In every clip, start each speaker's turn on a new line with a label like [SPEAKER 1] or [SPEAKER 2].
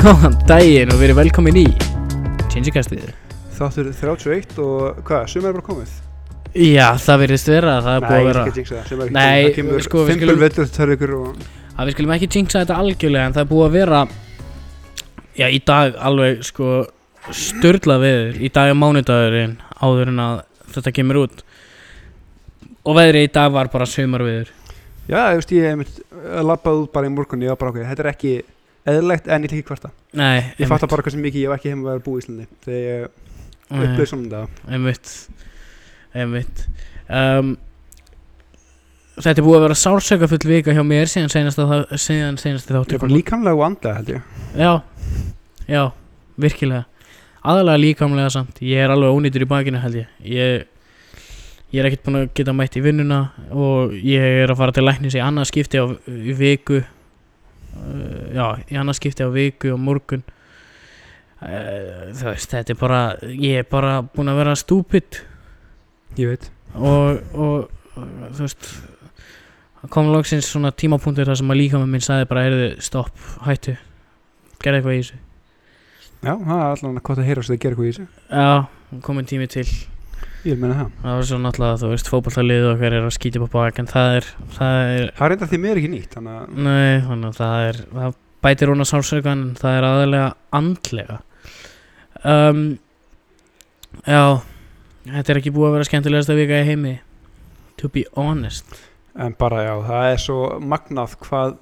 [SPEAKER 1] Góðan daginn og verið velkomin í Changecastið
[SPEAKER 2] Þáttur 31 og hvað, sumar er bara komið?
[SPEAKER 1] Já, það verðist vera, það er búið að vera
[SPEAKER 2] Nei, ég skal jinxa það, sumar er ekki
[SPEAKER 1] Nei,
[SPEAKER 2] komið, það kemur
[SPEAKER 1] sko, við
[SPEAKER 2] fimbul
[SPEAKER 1] skulum-
[SPEAKER 2] vetur þar ykkur og
[SPEAKER 1] að Við skulum ekki jinxa þetta algjörlega en það er búið að vera Já, í dag alveg sko störla veður Í dag er mánudagurinn áður en að þetta kemur út Og veðrið í dag var bara sumarveður
[SPEAKER 2] Já, þú veist, ég einmitt eh, labbaði út bara í morgun, ég var bara okkur, þetta er ekki eðlilegt en ég líka ekki kvarta
[SPEAKER 1] Nei,
[SPEAKER 2] Ég fatta bara hversu mikið ég var ekki heima að vera búið í Íslandi þegar ég upplöði svona um dag
[SPEAKER 1] Einmitt Einmitt um, Þetta er búið að vera sársökafull vika hjá mér síðan senast að það síðan senast þáttur
[SPEAKER 2] Þetta er
[SPEAKER 1] kom
[SPEAKER 2] bara líkamlega og andlega held ég
[SPEAKER 1] Já, já, virkilega aðalega líkamlega samt, ég er alveg ónýtur í bakinu held ég ég, ég er ekkert búinn að geta mætt í vinnuna og ég er að fara til læknis í annað skipti á í viku uh, já, í annað skipti á viku og morgun uh, þú veist, þetta er bara ég er bara búinn að vera stúpid
[SPEAKER 2] Ég veit
[SPEAKER 1] og, og, og þú veist það kom loksins svona tímapunktur þar sem að líka minn sagði bara, heyrðu, stopp, hættu gerði eitthvað í þessu
[SPEAKER 2] Já, það er allan að gott að heyra þess að það gera eitthvað í þessu
[SPEAKER 1] Já, komin tími til
[SPEAKER 2] Ég vil meina það
[SPEAKER 1] Það var svo náttúrulega, þú veist, fótballtalið og hver er að skýti upp á bak En það er, það er,
[SPEAKER 2] Það er enda því mér ekki nýtt, þannig að
[SPEAKER 1] nei, þannig að það er Það bætir hún að sálsökan, en það er aðalega andlega um, Já, þetta er ekki búið að vera skemmtilegasta vika í heimi To be honest
[SPEAKER 2] En bara já, það er svo magnað hvað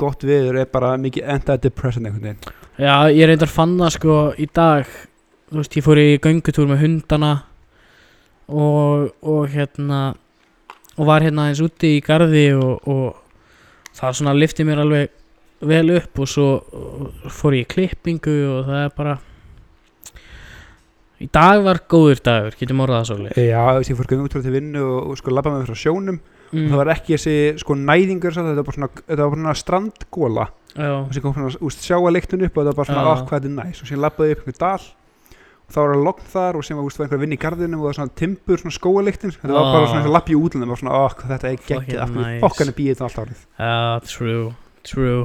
[SPEAKER 2] gott viður er bara mikið antidepressant einhvern veginn
[SPEAKER 1] Já, ég reyndar fann það sko í dag Þú veist, ég fór í göngutúr með hundana Og, og hérna Og var hérna eins úti í garði og, og það svona lifti mér alveg vel upp Og svo og fór ég í klippingu og það er bara Í dag var góður dagur, getum orðað það svolítið
[SPEAKER 2] Já, þú veist, ég fór göngutúr til vinnu og, og sko labba með frá sjónum
[SPEAKER 1] mm,
[SPEAKER 2] það var ekki þessi sko næðingur satt, þetta var bara svona, þetta var bara svona strandgóla
[SPEAKER 1] Mm, Já,
[SPEAKER 2] og sem kom svona, úst, sjáa leiktun upp og þetta var bara svona,
[SPEAKER 1] Já.
[SPEAKER 2] ah, hvað þetta er næs og sem labbaði ég upp einhver dal og þá var það logn þar og sem var, úst, var einhver vinn í garðinu og það var svona timbur, svona skóaleiktin þetta var bara
[SPEAKER 1] Ah.
[SPEAKER 2] svona lapp í útlunum og svona, ah, hvað þetta er
[SPEAKER 1] Fucking
[SPEAKER 2] geggið af
[SPEAKER 1] nice.
[SPEAKER 2] hverju fokkan er býið þetta allt árið
[SPEAKER 1] Já, Ah, true, true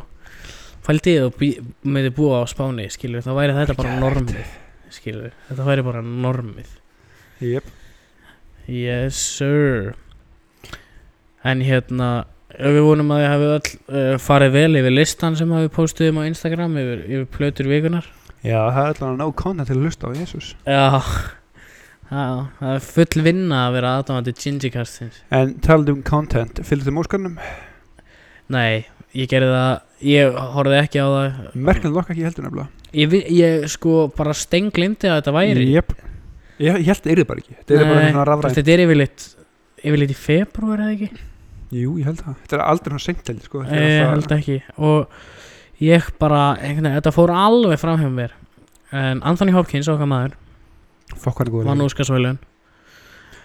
[SPEAKER 1] Fældi ég að myndi búa á Spáni, skilur þá væri þetta bara
[SPEAKER 2] Ekki hægt.
[SPEAKER 1] normið Skilur, þetta væri bara normið
[SPEAKER 2] yep.
[SPEAKER 1] Yes sir En hérna Við vonum að þið hafi öll uh, farið vel yfir listan sem hafi postuðum á Instagram yfir, yfir plötur vikunar
[SPEAKER 2] Já, það er allavega nóg content til að lusta á Jesus
[SPEAKER 1] Já Já, það er full vinna að vera aðdámandi Gingikastins
[SPEAKER 2] en talað um content, fylgðu þið móskanum
[SPEAKER 1] Nei, ég gerði það Ég horfði ekki á það
[SPEAKER 2] merknum lokk ekki heldur nefnilega
[SPEAKER 1] Ég, vi- ég sko bara stenglimti að þetta væri
[SPEAKER 2] yep. ég, ég held það yrði bara ekki þetta er bara
[SPEAKER 1] Nei,
[SPEAKER 2] svona
[SPEAKER 1] þú veist,
[SPEAKER 2] rafræn
[SPEAKER 1] Þetta er yfirleitt Yfirleitt í februar eða ekki
[SPEAKER 2] jú, ég held það, þetta er aldrei svona seint heldur sko. Þetta er
[SPEAKER 1] Ég
[SPEAKER 2] alltaf-
[SPEAKER 1] held ekki Og ég bara einhvern veginn Þetta fór alveg fram hjá mér En Anthony Hopkins okkar maður
[SPEAKER 2] Fokk hann er góður
[SPEAKER 1] Vann Óskarsvælun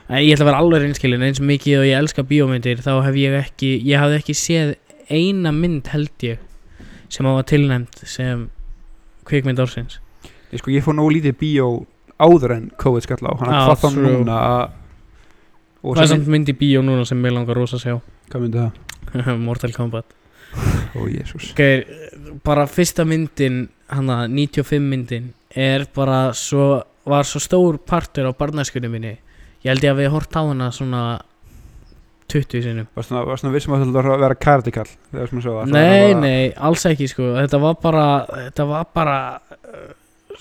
[SPEAKER 1] En ég ætla að vera alveg reynskilin Eins mikið og ég elska bíómyndir Þá hef ég ekki Ég hafði ekki séð eina mynd held ég Sem hafa tilnæmt sem Kvikmynd ársins
[SPEAKER 2] Ég sko, ég fór nógu lítið í bíó áður en COVID skall á, hann
[SPEAKER 1] Ah,
[SPEAKER 2] að hvað þá
[SPEAKER 1] true.
[SPEAKER 2] núna að og
[SPEAKER 1] Hvað er
[SPEAKER 2] sem,
[SPEAKER 1] samt mynd í bíó núna sem mér langar rosa að sjá
[SPEAKER 2] hvað myndi það?
[SPEAKER 1] Mortal Kombat
[SPEAKER 2] Ó, jésús
[SPEAKER 1] Geir, bara fyrsta myndin hana, 95 myndin er bara svo, var svo stór partur á barnæskunni minni ég held ég að við hort á hana svona 20 sinnum
[SPEAKER 2] Var svona, var svona vissum að þetta var að vera kardikall þegar sem að sjá það
[SPEAKER 1] nei, nei, alls ekki sko þetta var bara, þetta var bara uh,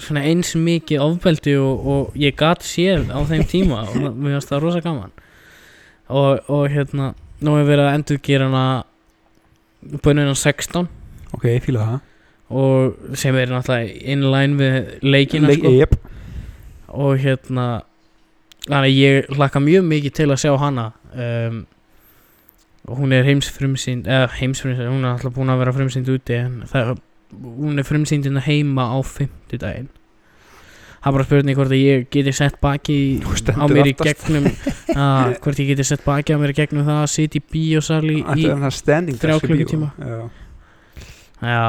[SPEAKER 1] svona eins mikið ofbeldi og, og ég gat séð á þeim tíma og það- mér finnst það rosa gaman og, og hérna nú er verið að endurgera hana bönnuna 16
[SPEAKER 2] Ok, ég fíla það
[SPEAKER 1] og sem er náttúrulega inline við leikina
[SPEAKER 2] Leik-
[SPEAKER 1] sko.
[SPEAKER 2] jep.
[SPEAKER 1] og hérna þannig að ég hlakka mjög mikið til að sjá hana um, og hún er heimsfrumsýnd eða heimsfrumsýnd, hún er alltaf búin að vera frumsýnd úti en það, hún er frumsýnd hérna heima á fimmtudaginn það er bara spurning hvort að ég geti sett baki í-
[SPEAKER 2] Þú
[SPEAKER 1] á
[SPEAKER 2] stendur
[SPEAKER 1] mér í
[SPEAKER 2] aftast.
[SPEAKER 1] gegnum að, hvort ég geti sett baki á mér í gegnum það að sitja í bíósal í, í
[SPEAKER 2] Þetta er það standing
[SPEAKER 1] þrjá
[SPEAKER 2] desk í bíó.
[SPEAKER 1] klukkutíma.
[SPEAKER 2] Já.
[SPEAKER 1] já,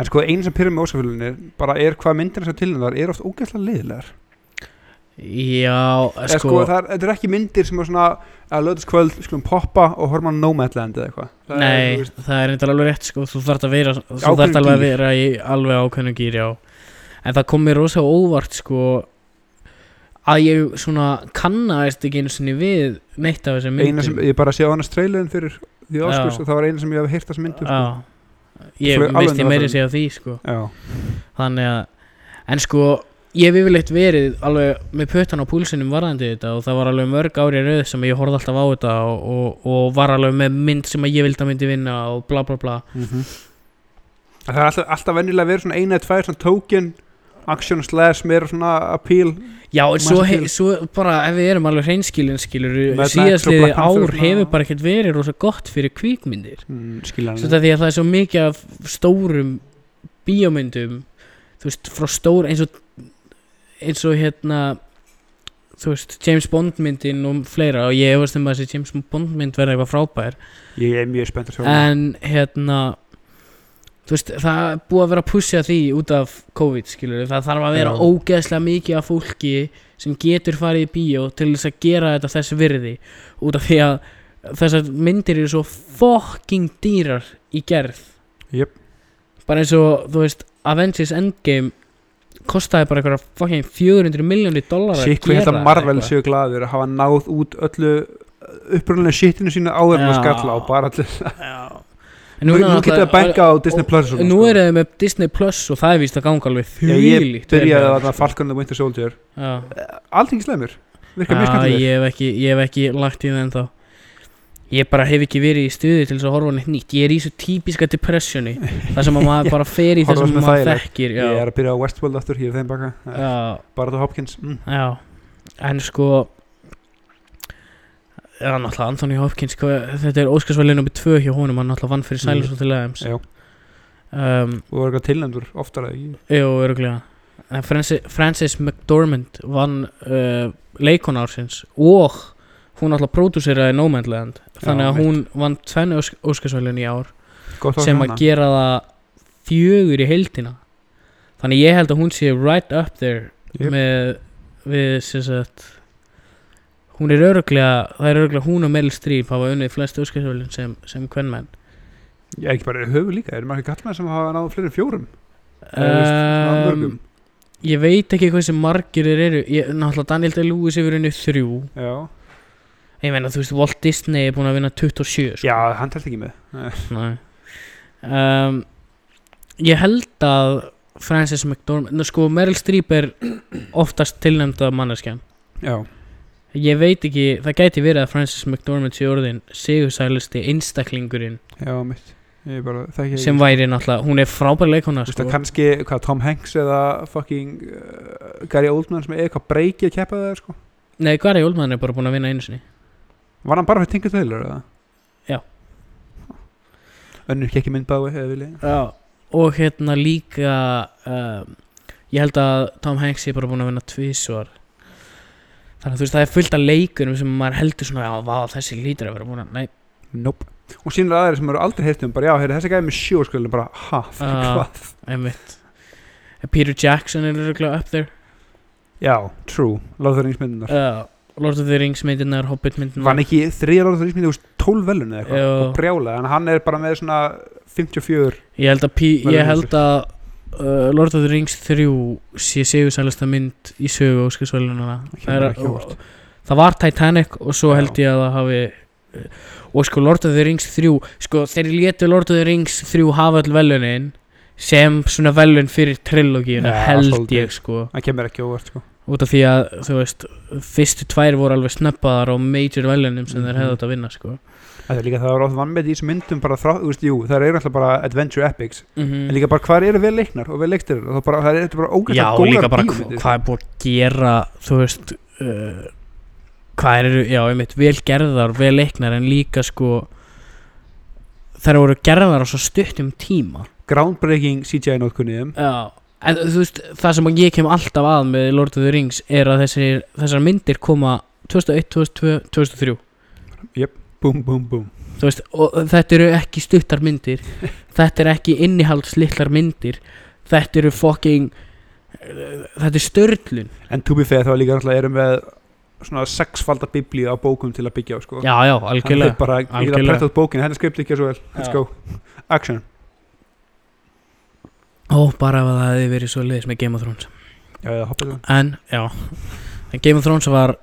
[SPEAKER 2] En sko, einn sem pyrir með ósafélunni bara er hvað myndir þess að tilnæðar er oft ógæslega leiðilegar
[SPEAKER 1] Já, sko,
[SPEAKER 2] Eða sko, það er, þetta er ekki myndir sem er svona að löðast kvöld, skulum poppa og horfa á Nomadland eða eitthvað Það er,
[SPEAKER 1] Nei,
[SPEAKER 2] þú veist,
[SPEAKER 1] það er eitthvað alveg rétt sko, þú þarft að vera, þú
[SPEAKER 2] Ákveðnum
[SPEAKER 1] þarft alveg að
[SPEAKER 2] gír.
[SPEAKER 1] vera í alveg ákveðnum gýr, já. En það kom mér rosa óvart sko að ég svona kannaðist ekki einu sinni við neitt af þessum myndum.
[SPEAKER 2] eina sem, ég bara sé á annars trailerin fyrir því
[SPEAKER 1] Já.
[SPEAKER 2] áskurs og það var eina sem ég hef heyrt þess myndu sko.
[SPEAKER 1] Já, ég
[SPEAKER 2] Flaug alveg
[SPEAKER 1] misti
[SPEAKER 2] undan
[SPEAKER 1] meiri
[SPEAKER 2] völlum.
[SPEAKER 1] sig af því sko.
[SPEAKER 2] Já,
[SPEAKER 1] Þannig að, en sko, ég hef yfirleitt verið alveg með pötan á púlsinum varðandi þetta og það var alveg mörg ári rauð sem ég horfði alltaf á þetta og, og, og var alveg með mynd sem að ég vildi að myndi vinna og bla bla bla.
[SPEAKER 2] Það er alltaf, alltaf venjulega verið svona eina eða tvær svona token, action slash meira svona appeal
[SPEAKER 1] Já, en svo,
[SPEAKER 2] Master
[SPEAKER 1] he,
[SPEAKER 2] Chief.
[SPEAKER 1] svo bara ef við erum alveg hreinskilin skilur
[SPEAKER 2] Mad Max og
[SPEAKER 1] síðastliði
[SPEAKER 2] Black Panther
[SPEAKER 1] ár
[SPEAKER 2] og svona.
[SPEAKER 1] hefur bara ekkert verið rosa gott fyrir kvíkmyndir
[SPEAKER 2] mm,
[SPEAKER 1] svo þetta
[SPEAKER 2] skiljanlega
[SPEAKER 1] er því að það er svo mikið af stórum bíómyndum þú veist, frá stór eins og eins og hérna þú veist, James Bond myndin og fleira og ég hefast um að þessi James Bond mynd verða eitthvað frábær
[SPEAKER 2] Ég er mjög spennt að sjá hana.
[SPEAKER 1] en hérna þú veist, það er búið að vera að pussja því út af COVID skilur það þarf að vera
[SPEAKER 2] Já.
[SPEAKER 1] ógeðslega mikið af fólki sem getur farið í bíó til þess að gera þetta þess virði út af því að þessar myndir eru svo fucking dýrar í gerð
[SPEAKER 2] Jöp.
[SPEAKER 1] bara eins og þú veist Avengers Endgame kostaði bara eitthvað fucking 400 miljónir dólar
[SPEAKER 2] Sitt hvað hérna Marvel séu glaður að hafa náð út öllu uh, upprunalega shitinu sínu áður en að
[SPEAKER 1] Já.
[SPEAKER 2] skalla og bara allir
[SPEAKER 1] nú,
[SPEAKER 2] Nú, nú getur það bænka á Disney Plus og svona,
[SPEAKER 1] Nú
[SPEAKER 2] sko.
[SPEAKER 1] eru þið með Disney Plus og það er víst að ganga alveg
[SPEAKER 2] Já, ég
[SPEAKER 1] þvílíkt hérna.
[SPEAKER 2] byrjaði
[SPEAKER 1] vel
[SPEAKER 2] að
[SPEAKER 1] með
[SPEAKER 2] það Falcon and the Winter Soldier
[SPEAKER 1] það, sko.
[SPEAKER 2] Allt ekki slemur, virka mjög
[SPEAKER 1] Já,
[SPEAKER 2] skemmtileg
[SPEAKER 1] Ah, ég hef ekki, ég hef ekki lagt í það ennþá Ég bara hef ekki verið í stuði til þess að horfa á neitt nýtt Ég er í þessu típiska depressioni Það sem að maður bara fer í það
[SPEAKER 2] Horfa
[SPEAKER 1] sem
[SPEAKER 2] svona
[SPEAKER 1] maður
[SPEAKER 2] þægilegt.
[SPEAKER 1] þekkir Já,
[SPEAKER 2] Ég er að byrja á Westworld aftur, ég er þeim baka Eh,
[SPEAKER 1] já,
[SPEAKER 2] Bardo Hopkins mm.
[SPEAKER 1] já En sko Já, náttúrulega Anthony Hopkins hvað, Þetta er Óskarsvæli nr. 2 hjá honum Hann náttúrulega vann fyrir Silence of the Lambs
[SPEAKER 2] Mm. Já.
[SPEAKER 1] um,
[SPEAKER 2] og var eitthvað tilnæmdur oftar eða ekki
[SPEAKER 1] Jú, öruglega En Francis, Francis McDormand vann uh, leikon ársins og hún alltaf pródúseraði Nomadland þannig
[SPEAKER 2] Já,
[SPEAKER 1] að hún vann tvenni óskarsvælun í ár
[SPEAKER 2] Gott á
[SPEAKER 1] sem að gera það fjögur í heildina þannig ég held að hún sé right up there
[SPEAKER 2] Jöp.
[SPEAKER 1] með við sem sagt hún er öruglega það er öruglega hún og Meryl Streep hafa unnið flest óskarsvælun sem, sem kvennmenn
[SPEAKER 2] Ég er ekki bara höfu líka, erum ekki kallmenn sem hafa náðu fleiri en fjórum Eða, þú veist, náð
[SPEAKER 1] um,
[SPEAKER 2] mörgum.
[SPEAKER 1] ég veit ekki hvað sem margir þeir eru ég, náttúrulega Daniel Day-Lewis hefur unnið þrjú
[SPEAKER 2] Já,
[SPEAKER 1] ég meina þú veist Walt Disney er búin að vinna 27 sko.
[SPEAKER 2] Já hann telt ekki með Eh, Nei.
[SPEAKER 1] Nei. um, ég held að Frances McDormand nú, sko Meryl Streep er oftast tilnæmda manneskjan
[SPEAKER 2] Já,
[SPEAKER 1] ég veit ekki, það gæti verið að Frances McDormand sé orðin sigursælusti einstaklingurinn
[SPEAKER 2] já, mitt Ég bara, þekki ekki
[SPEAKER 1] sem væri náttúrulega, hún er frábær leikona
[SPEAKER 2] Þú veist
[SPEAKER 1] sko.
[SPEAKER 2] að kannski, hvað, Tom Hanks eða fucking uh, Gary Oldman sem er eitthvað breyki að keppa það, sko
[SPEAKER 1] nei, Gary Oldman er bara búin að vinna einu sinni
[SPEAKER 2] Var hann bara fyrir Tinker Taylor, eða?
[SPEAKER 1] Já.
[SPEAKER 2] Önnur kekki myndbáði, eða vilja
[SPEAKER 1] Já, og hérna líka um, ég held að Tom Hanks er bara búin að vinna tvísvar þannig að þú veist það er fullt af leikurum sem maður heldur svona já, vá, þessi lítur að vera búin að nei,
[SPEAKER 2] Nope Og sínur aðeins sem eru aldrei heyrt um, bara já, heyri, þessi gæði með sjó, sko, bara, ha, fuck,
[SPEAKER 1] Ah.
[SPEAKER 2] hvað
[SPEAKER 1] einmitt Peter Jackson er röglega up there
[SPEAKER 2] Já, true, Lóðuringsmyndunar
[SPEAKER 1] uh, Lord of the Rings myndirnar, Hobbit myndirnar
[SPEAKER 2] Vann ekki þriðar Lóðuringsmyndunar, þú veist, 12 velun eða eitthvað
[SPEAKER 1] Hérna. Já.
[SPEAKER 2] og brjála, en hann er bara með svona 54
[SPEAKER 1] ég held að, P
[SPEAKER 2] Verður
[SPEAKER 1] ég held að uh, Lord of the Rings 3 sé segursælasta mynd í sögu óskarsvælunana það,
[SPEAKER 2] Það
[SPEAKER 1] er-
[SPEAKER 2] kemur ekki á óvart.
[SPEAKER 1] það var Titanic og svo
[SPEAKER 2] Já.
[SPEAKER 1] held ég að það hafi og sko Lord of the Rings 3 sko þeir létu Lord of the Rings 3 hafa all velunin sem svona velun fyrir trilógíuna
[SPEAKER 2] Já,
[SPEAKER 1] held
[SPEAKER 2] svolítið.
[SPEAKER 1] ég sko
[SPEAKER 2] hann kemur ekki óvart, sko
[SPEAKER 1] út af því að þú veist fyrstu tvær voru alveg snöppaðar á major velunum sem þeir
[SPEAKER 2] Mhm.
[SPEAKER 1] hefðu átt að vinna sko
[SPEAKER 2] Það er líka það er ofta vannmið í þessum myndum bara þrá, þú veist, jú, það eru alltaf bara adventure epics en
[SPEAKER 1] Mhm.
[SPEAKER 2] líka bara hvað eru vel leiknar og vel leiktir og það, bara, það er þetta bara ógæst
[SPEAKER 1] já
[SPEAKER 2] að
[SPEAKER 1] og líka bara hva,
[SPEAKER 2] bíómyndir
[SPEAKER 1] hvað er búið að gera þú veist uh, hvað eru, já einmitt vel gerðar, vel leiknar en líka sko þær voru gerðar á svo stuttum tíma
[SPEAKER 2] groundbreaking CGI notkunni þeim
[SPEAKER 1] Já, en þú veist, það sem ég kem alltaf að með Lord of the Rings er að þessir, þessar myndir koma 2001, 2002, 2003
[SPEAKER 2] búm, búm, búm
[SPEAKER 1] þú veist, og þetta eru ekki stuttar myndir þetta eru ekki innihaldslittlar myndir þetta eru fucking uh, þetta er störlun
[SPEAKER 2] En to be fair þá er líka náttúrulega erum við svona sexfalda biblíu á bókum til að byggja á sko
[SPEAKER 1] já, já,
[SPEAKER 2] Hann
[SPEAKER 1] algjörlega
[SPEAKER 2] er bara, ég er að
[SPEAKER 1] algjörlega.
[SPEAKER 2] prenta út bókina, henni skrifti ekki svo vel Let's
[SPEAKER 1] Já.
[SPEAKER 2] go, action
[SPEAKER 1] ó, bara ef að það hefði verið svo leiðis með Game of Thrones
[SPEAKER 2] Já, já, hoppið um. það
[SPEAKER 1] en, já en Game of Thrones var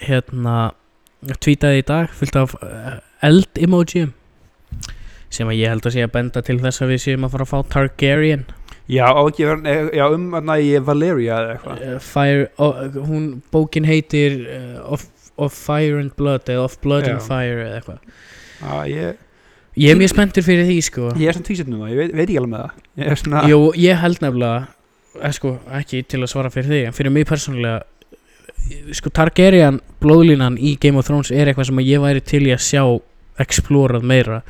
[SPEAKER 1] hérna, tweetaði í dag fullt af eh, eld emoji sem að ég held að sé að benda til þess að við séum að fara að fá Targaryen
[SPEAKER 2] Já, á ekki, að vera- nei, já um þarna í Valeria eða eitthvað
[SPEAKER 1] uh, Fire, uh, hún, bókin heitir uh, of, of Fire and Blood eða Of Blood
[SPEAKER 2] Já.
[SPEAKER 1] and Fire eða eitthvað
[SPEAKER 2] Já, ég,
[SPEAKER 1] ég er mjög spenntur fyrir því sko
[SPEAKER 2] ég er svona tvísetnum það, ég veit, veit ekki alveg með það Ég er svona,
[SPEAKER 1] Jú, ég held nefnilega eh, sko, ekki til að svara fyrir þig en fyrir mig persónulega eh, sko Targaryen blóðlínan í Game of Thrones er eitthvað sem að ég væri til í að sjá explorað meira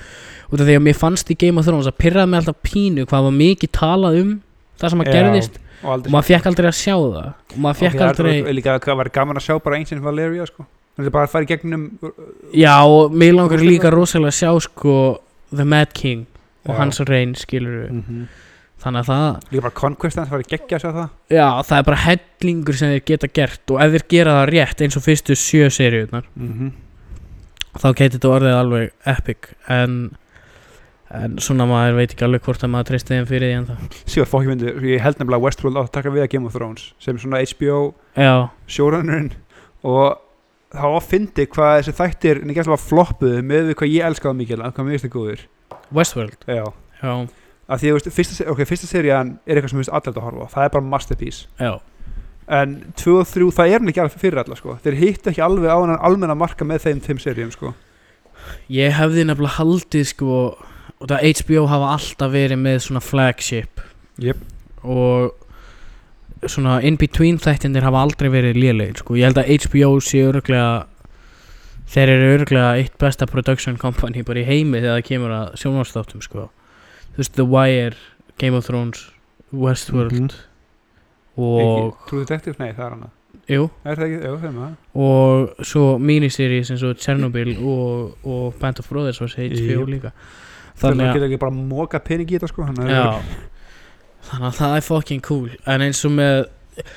[SPEAKER 1] út af því að mér fannst í Game of Thrones að pyrraði mig alltaf pínu hvað var mikið talað um það sem að
[SPEAKER 2] Já,
[SPEAKER 1] gerðist
[SPEAKER 2] og
[SPEAKER 1] og
[SPEAKER 2] aldrei
[SPEAKER 1] maður fekk aldrei að sjá það og maður fekk
[SPEAKER 2] Ok,
[SPEAKER 1] aldrei
[SPEAKER 2] það er líka að vera gaman að sjá bara eins og Valeria sko Það er bara að fara í gegnum
[SPEAKER 1] já og mig langar líka rosalega að sjá sko The Mad King og
[SPEAKER 2] Já.
[SPEAKER 1] hans reyn skilur
[SPEAKER 2] mm -hmm.
[SPEAKER 1] þannig að það
[SPEAKER 2] Líka bara Conquest, það var að gegja að sjá það
[SPEAKER 1] Já, það er bara hellingur sem þeir geta gert og ef þeir gera það rétt eins og fyrstu sjö seríunar
[SPEAKER 2] mm -hmm.
[SPEAKER 1] þá geti þetta orðið alveg epic en, en svona maður veit ekki alveg hvort að maður treysti þeim fyrir því en það
[SPEAKER 2] Sjóður fólk myndi, ég held nefnilega að Westworld átt að taka við að Game of Thrones sem svona HBO
[SPEAKER 1] Já,
[SPEAKER 2] showrunnerinn og þá fyndi hvað þessi þættir en ég gæst alveg floppuðu með við hvað ég elskaði mikið að hvað mér finnst það góður
[SPEAKER 1] Westworld
[SPEAKER 2] Já,
[SPEAKER 1] Já,
[SPEAKER 2] af því að þú veist, fyrsta, se- ok, fyrsta serían er eitthvað sem við allir að horfa á, það er bara masterpiece
[SPEAKER 1] já,
[SPEAKER 2] en 2 og 3, það er hann ekki alveg fyrir alla sko. þeir hittu ekki alveg á hann almenna marka með þeim þeim seríum sko.
[SPEAKER 1] ég hefði nefnilega haldið sko og það HBO hafa alltaf verið með svona flagship
[SPEAKER 2] Jep.
[SPEAKER 1] og svona in-between þættindir hafa aldrei verið lélegir sko, ég held að HBO sé öruglega þeir eru öruglega eitt besta production company bara í heimi þegar það kemur að sjónvarsþáttum sko, þú veist The Wire Game of Thrones, Westworld
[SPEAKER 2] Mhm.
[SPEAKER 1] og,
[SPEAKER 2] Ekki- True Detective, nei, það er hann
[SPEAKER 1] jú
[SPEAKER 2] er það ekki, já, þeim að
[SPEAKER 1] og svo miniseries eins og Chernobyl og, og Band of Brothers var HBO
[SPEAKER 2] Jú.
[SPEAKER 1] líka
[SPEAKER 2] þannig
[SPEAKER 1] þannig að
[SPEAKER 2] að geta ekki bara móka pening í þetta sko, þannig að
[SPEAKER 1] Já Þannig að það er fucking cool En eins og með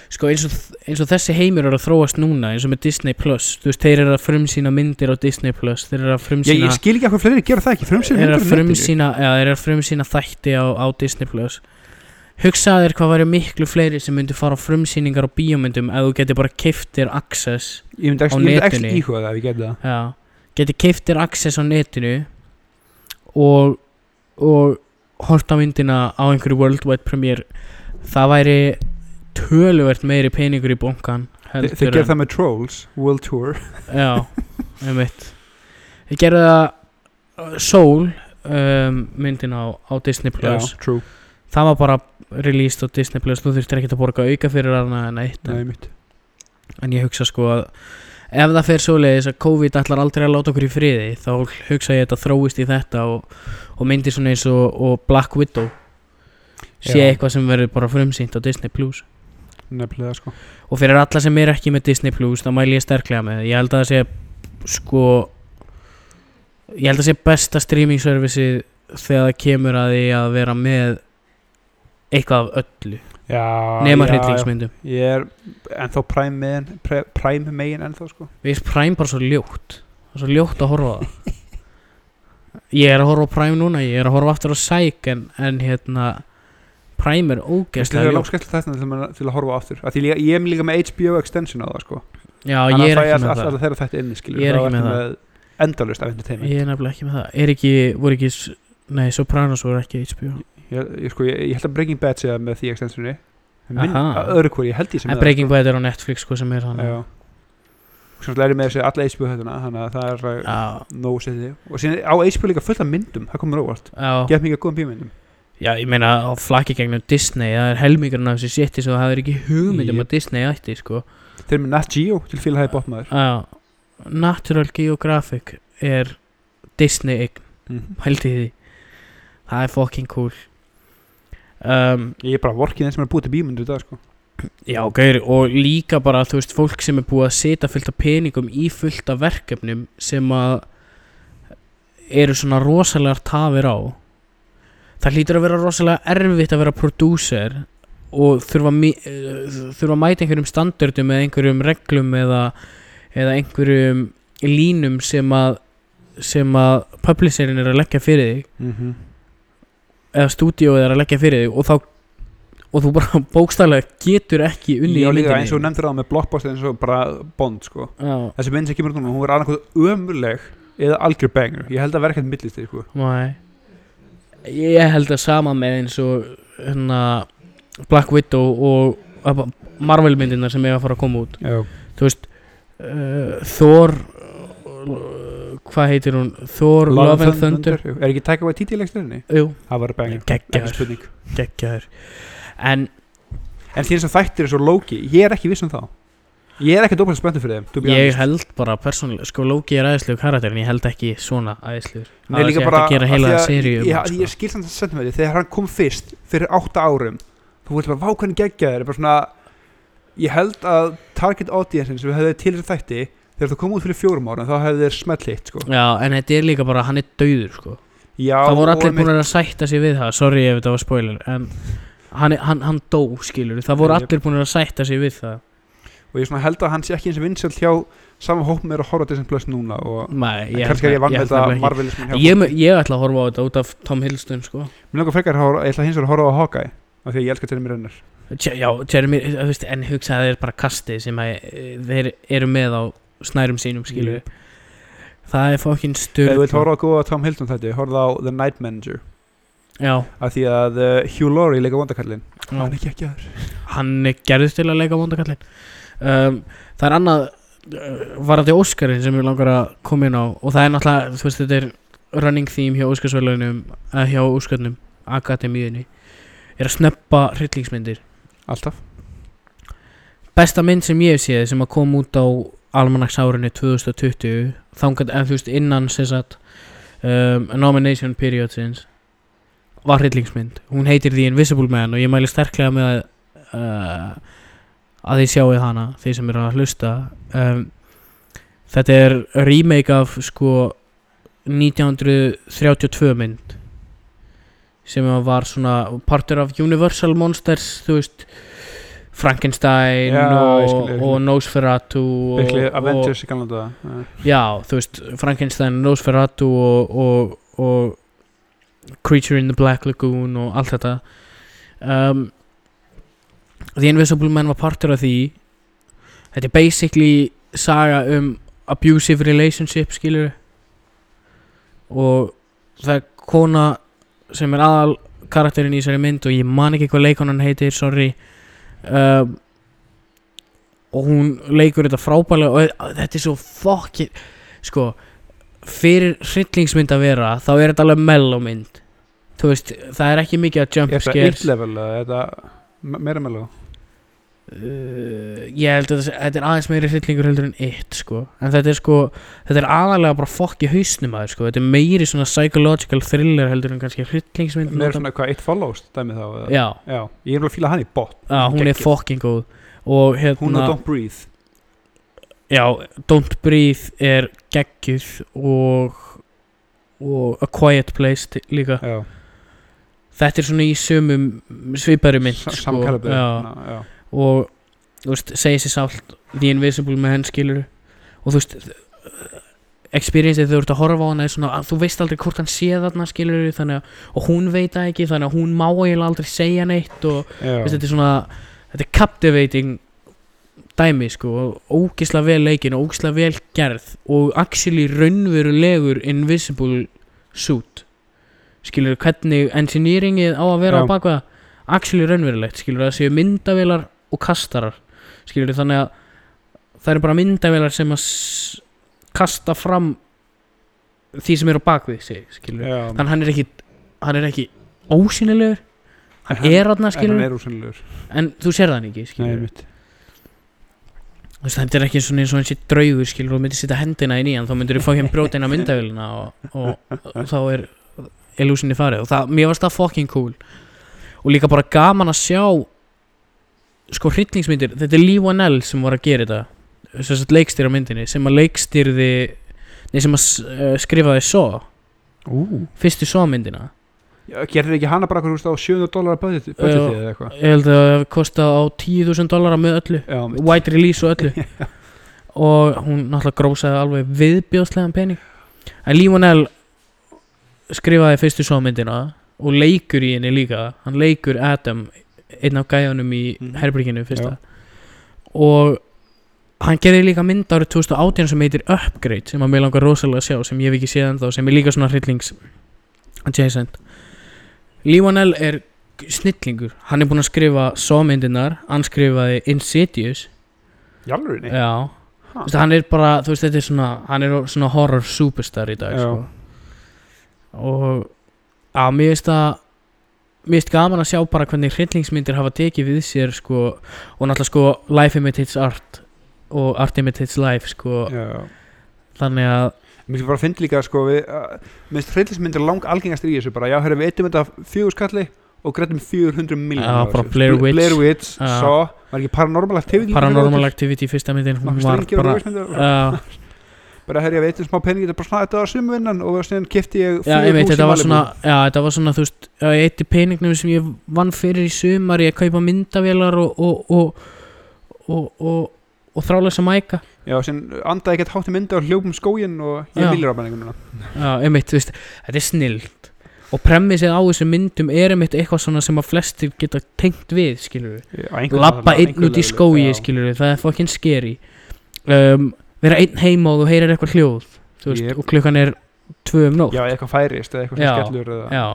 [SPEAKER 1] Sko eins og, eins og þessi heimur er að þróast núna Eins og með Disney Plus Þú veist þeir eru að frumsýna myndir á Disney Plus Þeir eru að
[SPEAKER 2] ég,
[SPEAKER 1] frumsýna
[SPEAKER 2] ég skil ekki að hvað fleiri gera það ekki
[SPEAKER 1] Þeir
[SPEAKER 2] frumsýna
[SPEAKER 1] eru
[SPEAKER 2] myndir
[SPEAKER 1] að
[SPEAKER 2] á netinu.
[SPEAKER 1] frumsýna Já þeir eru að frumsýna þætti á, á Disney Plus Hugsaðu þér hvað væri miklu fleiri sem myndu fara á frumsýningar á bíómyndum ef þú getur bara kiftir access
[SPEAKER 2] Ég myndi
[SPEAKER 1] á
[SPEAKER 2] ekki, ég myndi ekki
[SPEAKER 1] netinu.
[SPEAKER 2] íhuga það ef ég gerði það
[SPEAKER 1] Já, geti keiftir access á netinu og, og hort á myndina á einhverju worldwide premiere það væri töluvert meiri peningur í bunkan
[SPEAKER 2] Þe- Þeir gerðu það með Trolls, World Tour
[SPEAKER 1] Já, einmitt Þeir gerðu það uh, Soul um, myndina á, á Disney Plus
[SPEAKER 2] true
[SPEAKER 1] það var bara released á Disney Plus þú þurftir ekkert að borga auka fyrir hana en eitt
[SPEAKER 2] Nei, mitt
[SPEAKER 1] En ég hugsa sko að ef það fer svoleiðis að COVID ætlar aldrei að láta okkur í friði þá hugsa ég að þetta þróist í þetta og, og myndir svona eins og, og Black Widow sé
[SPEAKER 2] Já.
[SPEAKER 1] eitthvað sem verður bara frumsýnt á Disney Plus
[SPEAKER 2] Nefnilega sko
[SPEAKER 1] og fyrir alla sem er ekki með Disney Plus þá mæl ég sterklega með það. ég held að það sé sko ég held að það sé besta streaming servisi þegar það kemur að því að vera með eitthvað af öllu
[SPEAKER 2] Já
[SPEAKER 1] nema
[SPEAKER 2] Ah, já,
[SPEAKER 1] hryllingsmyndum
[SPEAKER 2] já. Ég er ennþá Prime megin pre- Prime megin ennþá sko
[SPEAKER 1] Við erum Prime bara svo ljótt Það er svo ljótt að horfa á það Ég er að horfa á Prime núna Ég er að horfa aftur á Psych En, en hérna Prime er
[SPEAKER 2] Þetta er
[SPEAKER 1] ógeðslega ljótt
[SPEAKER 2] langskælt þetta til, að- til að horfa á aftur Af Því líka, ég er líka með HBO extension á það sko
[SPEAKER 1] Já, ég er ekki með
[SPEAKER 2] Þannig
[SPEAKER 1] það
[SPEAKER 2] að þeirra þetta inni skilur
[SPEAKER 1] Ég er
[SPEAKER 2] Þá
[SPEAKER 1] ekki
[SPEAKER 2] ertu
[SPEAKER 1] með
[SPEAKER 2] með Endalust af entertainment
[SPEAKER 1] Ég er nefnilega ekki með það Er ekki, voru ekki s- Nei, Sopranos voru ekki HBO
[SPEAKER 2] ég, ég, sko, ég, ég held að Breaking Bad sé það með því extensioni Minn,
[SPEAKER 1] Aha.
[SPEAKER 2] að öðru hvori, ég held ég sem
[SPEAKER 1] En Breaking Bad er á Netflix sko sem er hann
[SPEAKER 2] Já Svo er ég með þessi alla HBO hættuna Þannig að það er að
[SPEAKER 1] Já,
[SPEAKER 2] nóg sér því og síðan á HBO líka fullt af myndum það komur óvart
[SPEAKER 1] já,
[SPEAKER 2] gett mikið af góðum bíómyndum
[SPEAKER 1] já, ég meina á flakki gegnum Disney, það er helmingurinn af þessi sétti svo það er ekki hugmyndum
[SPEAKER 2] Jep.
[SPEAKER 1] að Disney ætti, sko
[SPEAKER 2] þeir eru með Nat Geo til fíla hæði bóttmaður
[SPEAKER 1] Já, Natural Geographic er Disney eign
[SPEAKER 2] Mhm.
[SPEAKER 1] pældi í því það er fucking cool um,
[SPEAKER 2] ég er bara vorkið þeim sem er að búið til bíómyndu í dag sko.
[SPEAKER 1] já gaur og líka bara þú veist fólk sem er búið að setja fullt af peningum í fullt af verkefnum sem að eru svona rosalegar tafir á það hlýtur að vera rosalega erfitt að vera producer og þurfa, mi- eh, þurfa að mæta einhverjum standardum eða einhverjum reglum eða, eða einhverjum línum sem að sem að publisherin er að leggja fyrir þig
[SPEAKER 2] mm -hmm.
[SPEAKER 1] eða stúdíóið er að leggja fyrir þig og þá og þú bara bókstæðlega getur ekki unni
[SPEAKER 2] Já,
[SPEAKER 1] í
[SPEAKER 2] líka
[SPEAKER 1] myndinni
[SPEAKER 2] eins og þú nefndir það með blockbuster eins og bara Bond sko
[SPEAKER 1] Já,
[SPEAKER 2] þessi mynd sem kemur út núna, hún er annarkoð ömurleg eða algjör banger, ég held að verða ekkert millist sko.
[SPEAKER 1] næ Ég held að sama með eins og hérna Black Widow og Marvel myndirnar sem eiga að fara að koma út
[SPEAKER 2] Já,
[SPEAKER 1] þú veist uh, Thor uh, hvað heitir hún Thor Love, and Thunder,
[SPEAKER 2] Jú, Er ekki Taika Waititi í leiksturinni?
[SPEAKER 1] Thunder.
[SPEAKER 2] Það var banger, ekki
[SPEAKER 1] geggjaður
[SPEAKER 2] spurning
[SPEAKER 1] geggjaður en
[SPEAKER 2] En því eins og þættir er svo Loki, ég er ekki viss um þá Ég er ekki dópalega spenntur fyrir þeim to be
[SPEAKER 1] ég
[SPEAKER 2] honest.
[SPEAKER 1] held bara persónulega sko Loki er æðislegu karakter en ég held ekki svona æðislegur
[SPEAKER 2] Nei, líka
[SPEAKER 1] hægt
[SPEAKER 2] bara
[SPEAKER 1] að gera
[SPEAKER 2] af
[SPEAKER 1] heila
[SPEAKER 2] því að-
[SPEAKER 1] seríu um
[SPEAKER 2] Já,
[SPEAKER 1] hann,
[SPEAKER 2] því ég skil samt að senda með því Þegar hann kom fyrst, fyrir átta árum Þú veist bara, vá hvernig geggja þér bara svona, Ég held að target audience sem hefði til þér þætti Þegar þú kom út fyrir fjórum árum, þá hefði þér smelt hitt sko.
[SPEAKER 1] Já, en þetta er líka bara, hann er dauður sko.
[SPEAKER 2] Já,
[SPEAKER 1] Það voru allir
[SPEAKER 2] og
[SPEAKER 1] búin að sætta sér við það Sorry ef þetta var spoiler En hann, er- hann, hann dó, skilur Það voru
[SPEAKER 2] Já, ég-
[SPEAKER 1] allir búin að sætta sér við það
[SPEAKER 2] og ég svona held að hann sé ekki eins og vinsöld hjá sama hópum er að horfa á Disney Plus núna og
[SPEAKER 1] Nei,
[SPEAKER 2] en kannski er ég vann með
[SPEAKER 1] held
[SPEAKER 2] þetta
[SPEAKER 1] nefnilega
[SPEAKER 2] Marvelismin
[SPEAKER 1] ekki.
[SPEAKER 2] hjá
[SPEAKER 1] ég, ég ætla að horfa á þetta út af Tom Hiddleston sko.
[SPEAKER 2] mér langar frekar að horfa, ég ætla hins vegar að horfa á Hawkeye af því að ég elska Jeremy Renner
[SPEAKER 1] Tje- Já, Jeremy, eh, þú veist, en hugsaði þeir bara kastið sem að, eh, þeir eru með á snærum sínum, skilur Það er fókin
[SPEAKER 2] ef þú vilt
[SPEAKER 1] styrk
[SPEAKER 2] horfa á góða Tom Hilton þetta horfa á The Night Manager
[SPEAKER 1] Já,
[SPEAKER 2] af því að uh, Hugh Laurie leika vondakallin
[SPEAKER 1] já.
[SPEAKER 2] hann er ekki ekki aður
[SPEAKER 1] hann er gerðist til að leika vondakallin um, Það er annað uh, varandi Óskarinn sem ég langar að koma inn á og það er náttúrulega, þú veist, þetta er running theme hjá Óskarsvælunum eða hjá Óskarnum, Akademíunni er að snöppa hryllingsmyndir
[SPEAKER 2] alltaf
[SPEAKER 1] besta mynd sem ég hef séð sem að kom út á almanaksárinu 2020 þangat en þú veist innan sem sagt um, nomination period since var hryllingsmynd hún heitir The Invisible Man og ég mæli sterklega með að uh, að þið sjáu hana þeir sem eru að hlusta um, þetta er remake af sko 1932 mynd sem að var svona partur af Universal Monsters þú veist Frankenstein
[SPEAKER 2] Já, ég skil,
[SPEAKER 1] og,
[SPEAKER 2] ég skil.
[SPEAKER 1] og Nosferatu og,
[SPEAKER 2] Byggli
[SPEAKER 1] og,
[SPEAKER 2] Avengers í ganlanda uh,
[SPEAKER 1] Já, þú veist, Frankenstein, Nosferatu og, og, og Creature in the Black Lagoon og allt þetta um, The Invisible Man var partur af því Þetta er basically saga um abusive relationship, skilur og það er kona sem er aðal karakterinn í þessari mynd og ég man ekki hvað leikonan heitir, sorry um, og hún leikur þetta frábælega og eh, þetta er svo fokkin sko, fyrir hryllingsmynd að vera þá er þetta alveg mellómynd þú veist, það er ekki mikið að
[SPEAKER 2] er
[SPEAKER 1] jump
[SPEAKER 2] þetta eitt
[SPEAKER 1] scares
[SPEAKER 2] level eða er þetta me- meira meðlega
[SPEAKER 1] uh, ég held að þetta sé- þetta er aðeins meiri hryllingur heldur en eitt sko. en þetta er sko þetta er aðalega bara fokk í hausnum aður sko. þetta er meiri svona psychological thriller heldur en kannski hryllingsmynd
[SPEAKER 2] meira
[SPEAKER 1] nota-
[SPEAKER 2] svona hvað eitt follows dæmi þá eða-
[SPEAKER 1] já,
[SPEAKER 2] já ég er alveg að fíla hann í bot
[SPEAKER 1] já, hún er
[SPEAKER 2] Geggjuð.
[SPEAKER 1] fokkin góð og hérna
[SPEAKER 2] hún og Don't Breathe
[SPEAKER 1] já, Don't Breathe er geggjuð og og A Quiet Place ti- líka
[SPEAKER 2] já
[SPEAKER 1] þetta er svona í sumum svipari mynd
[SPEAKER 2] Sa-
[SPEAKER 1] sko.
[SPEAKER 2] samkalabið
[SPEAKER 1] Já.
[SPEAKER 2] Já, já.
[SPEAKER 1] og þú veist, segi sér sált The Invisible með henn skilur og þú veist experience þegar þú ert að horfa á hana er svona að þú veist aldrei hvort hann sé þarna skilur þannig að, og hún veit það ekki þannig að hún má eiginlega aldrei segja neitt og
[SPEAKER 2] Já.
[SPEAKER 1] þú veist, þetta er svona þetta er captivating dæmi sko og ógisla vel leikin og ógisla vel gerð og actually raunverulegur invisible suit skilur hvernig engineeringið á að vera
[SPEAKER 2] Já.
[SPEAKER 1] á bakvað actually raunverulegt skilur það séu myndavélar og kastarar skilur þannig að það eru bara myndavélar sem að s- kasta fram því sem er á bakvið sig skilur
[SPEAKER 2] Já.
[SPEAKER 1] þannig að hann er ekki hann er ekki ósynilegur hann
[SPEAKER 2] En
[SPEAKER 1] er hann
[SPEAKER 2] En hann
[SPEAKER 1] skilur
[SPEAKER 2] er úsynlegur
[SPEAKER 1] en þú sér það ekki
[SPEAKER 2] Nei,
[SPEAKER 1] skilur
[SPEAKER 2] mitt
[SPEAKER 1] Þú veist, þetta er ekki svona eins og eins og draugur skilur og myndir setja hendina inn í hann þá myndir þú fá hérna brjóta inn á myndavélina og, og, og þá er illusioni farið og það, mér varst það fucking cool og líka bara gaman að sjá sko hryllingsmyndir þetta er Lee Wanell sem var að gera þetta sem sagt leikstýra myndinni sem að leikstýrði nei sem að s- eh, skrifaði svo
[SPEAKER 2] Ú,
[SPEAKER 1] fyrstu svo myndina
[SPEAKER 2] Já, Gerðir ekki hana bara hvað, þú veist, á 700 dólar að budgeti budgeti eða eitthvað?
[SPEAKER 1] Ég held að það hafi kostað á 10.000 dollara með öllu
[SPEAKER 2] Já, mitt.
[SPEAKER 1] White release og öllu Og hún náttúrulega grósaði alveg viðbjóðslegan pening En Limonel skrifaði fyrstu sómyndina og leikur í henni líka Hann leikur Adam, einn af gæjanum í
[SPEAKER 2] Mhm.
[SPEAKER 1] herbríkinu fyrsta Og hann gerði líka mynd árið 2018 sem heitir Upgrade sem að mér langar rosalega að sjá sem ég hef ekki séð ennþá sem er líka svona hryllings adjacent Limonel er snillingur hann er búinn að skrifa sómyndinar hann skrifaði Insidious
[SPEAKER 2] Jálfurinni?
[SPEAKER 1] Já,
[SPEAKER 2] Ha.
[SPEAKER 1] þú veist, hann er bara, þú veist, þetta er svona, hann er svona horror superstar í dag,
[SPEAKER 2] Já.
[SPEAKER 1] sko. Og, að mér finnst það, mér finnst gaman að sjá bara hvernig hryllingsmyndir hafa tekið við sér, sko, og náttúrulega, sko, life imitates art og art imitates life, sko,
[SPEAKER 2] Já.
[SPEAKER 1] þannig að,
[SPEAKER 2] Mér finnst bara að finna líka sko við, uh, minnst hryllismyndir lang algengast í þessu bara, já, herra, við eittum þetta fjögur skalli og grættum 400
[SPEAKER 1] Já,
[SPEAKER 2] miljónir
[SPEAKER 1] bara Blair Witch.
[SPEAKER 2] Blair Witch,
[SPEAKER 1] Já.
[SPEAKER 2] svo, var ekki Paranormal Activity
[SPEAKER 1] paranormal activity fyrsta myndin, hún var bara,
[SPEAKER 2] bara
[SPEAKER 1] já,
[SPEAKER 2] bara, herra, við eittum smá pening, þetta er bara svona, þetta var sumvinnan og síðan kipti ég
[SPEAKER 1] já,
[SPEAKER 2] fjögur
[SPEAKER 1] ég veit,
[SPEAKER 2] hús í
[SPEAKER 1] þetta var
[SPEAKER 2] Malibu.
[SPEAKER 1] svona, já, þetta var svona, þú veist, já, ég eitti peningnum sem ég vann fyrir í sumar, ég kaupa myndavélar og, og, og, og, og, og þrálega sem mæka.
[SPEAKER 2] Já, síðan andaði ekkert hátti mynda og hljópum skóginn og ég
[SPEAKER 1] Já.
[SPEAKER 2] viljur á menningu núna
[SPEAKER 1] Já, einmitt, þú veist, þetta er snillt og premissið á þessum myndum er einmitt eitthvað svona sem að flestir geta tengt við, skilur við
[SPEAKER 2] Á einhvern-
[SPEAKER 1] Lappa
[SPEAKER 2] á
[SPEAKER 1] einn
[SPEAKER 2] einhverju
[SPEAKER 1] út í
[SPEAKER 2] level,
[SPEAKER 1] skói,
[SPEAKER 2] já.
[SPEAKER 1] skilur við, það er fokkin skeri um, Vera einn heima og þú heyrir eitthvað hljóð, þú veist,
[SPEAKER 2] Jep.
[SPEAKER 1] og klukkan er tvö um nótt
[SPEAKER 2] Já, eitthvað færist eða eitthvað
[SPEAKER 1] Já.
[SPEAKER 2] sem skellur eða-
[SPEAKER 1] Já,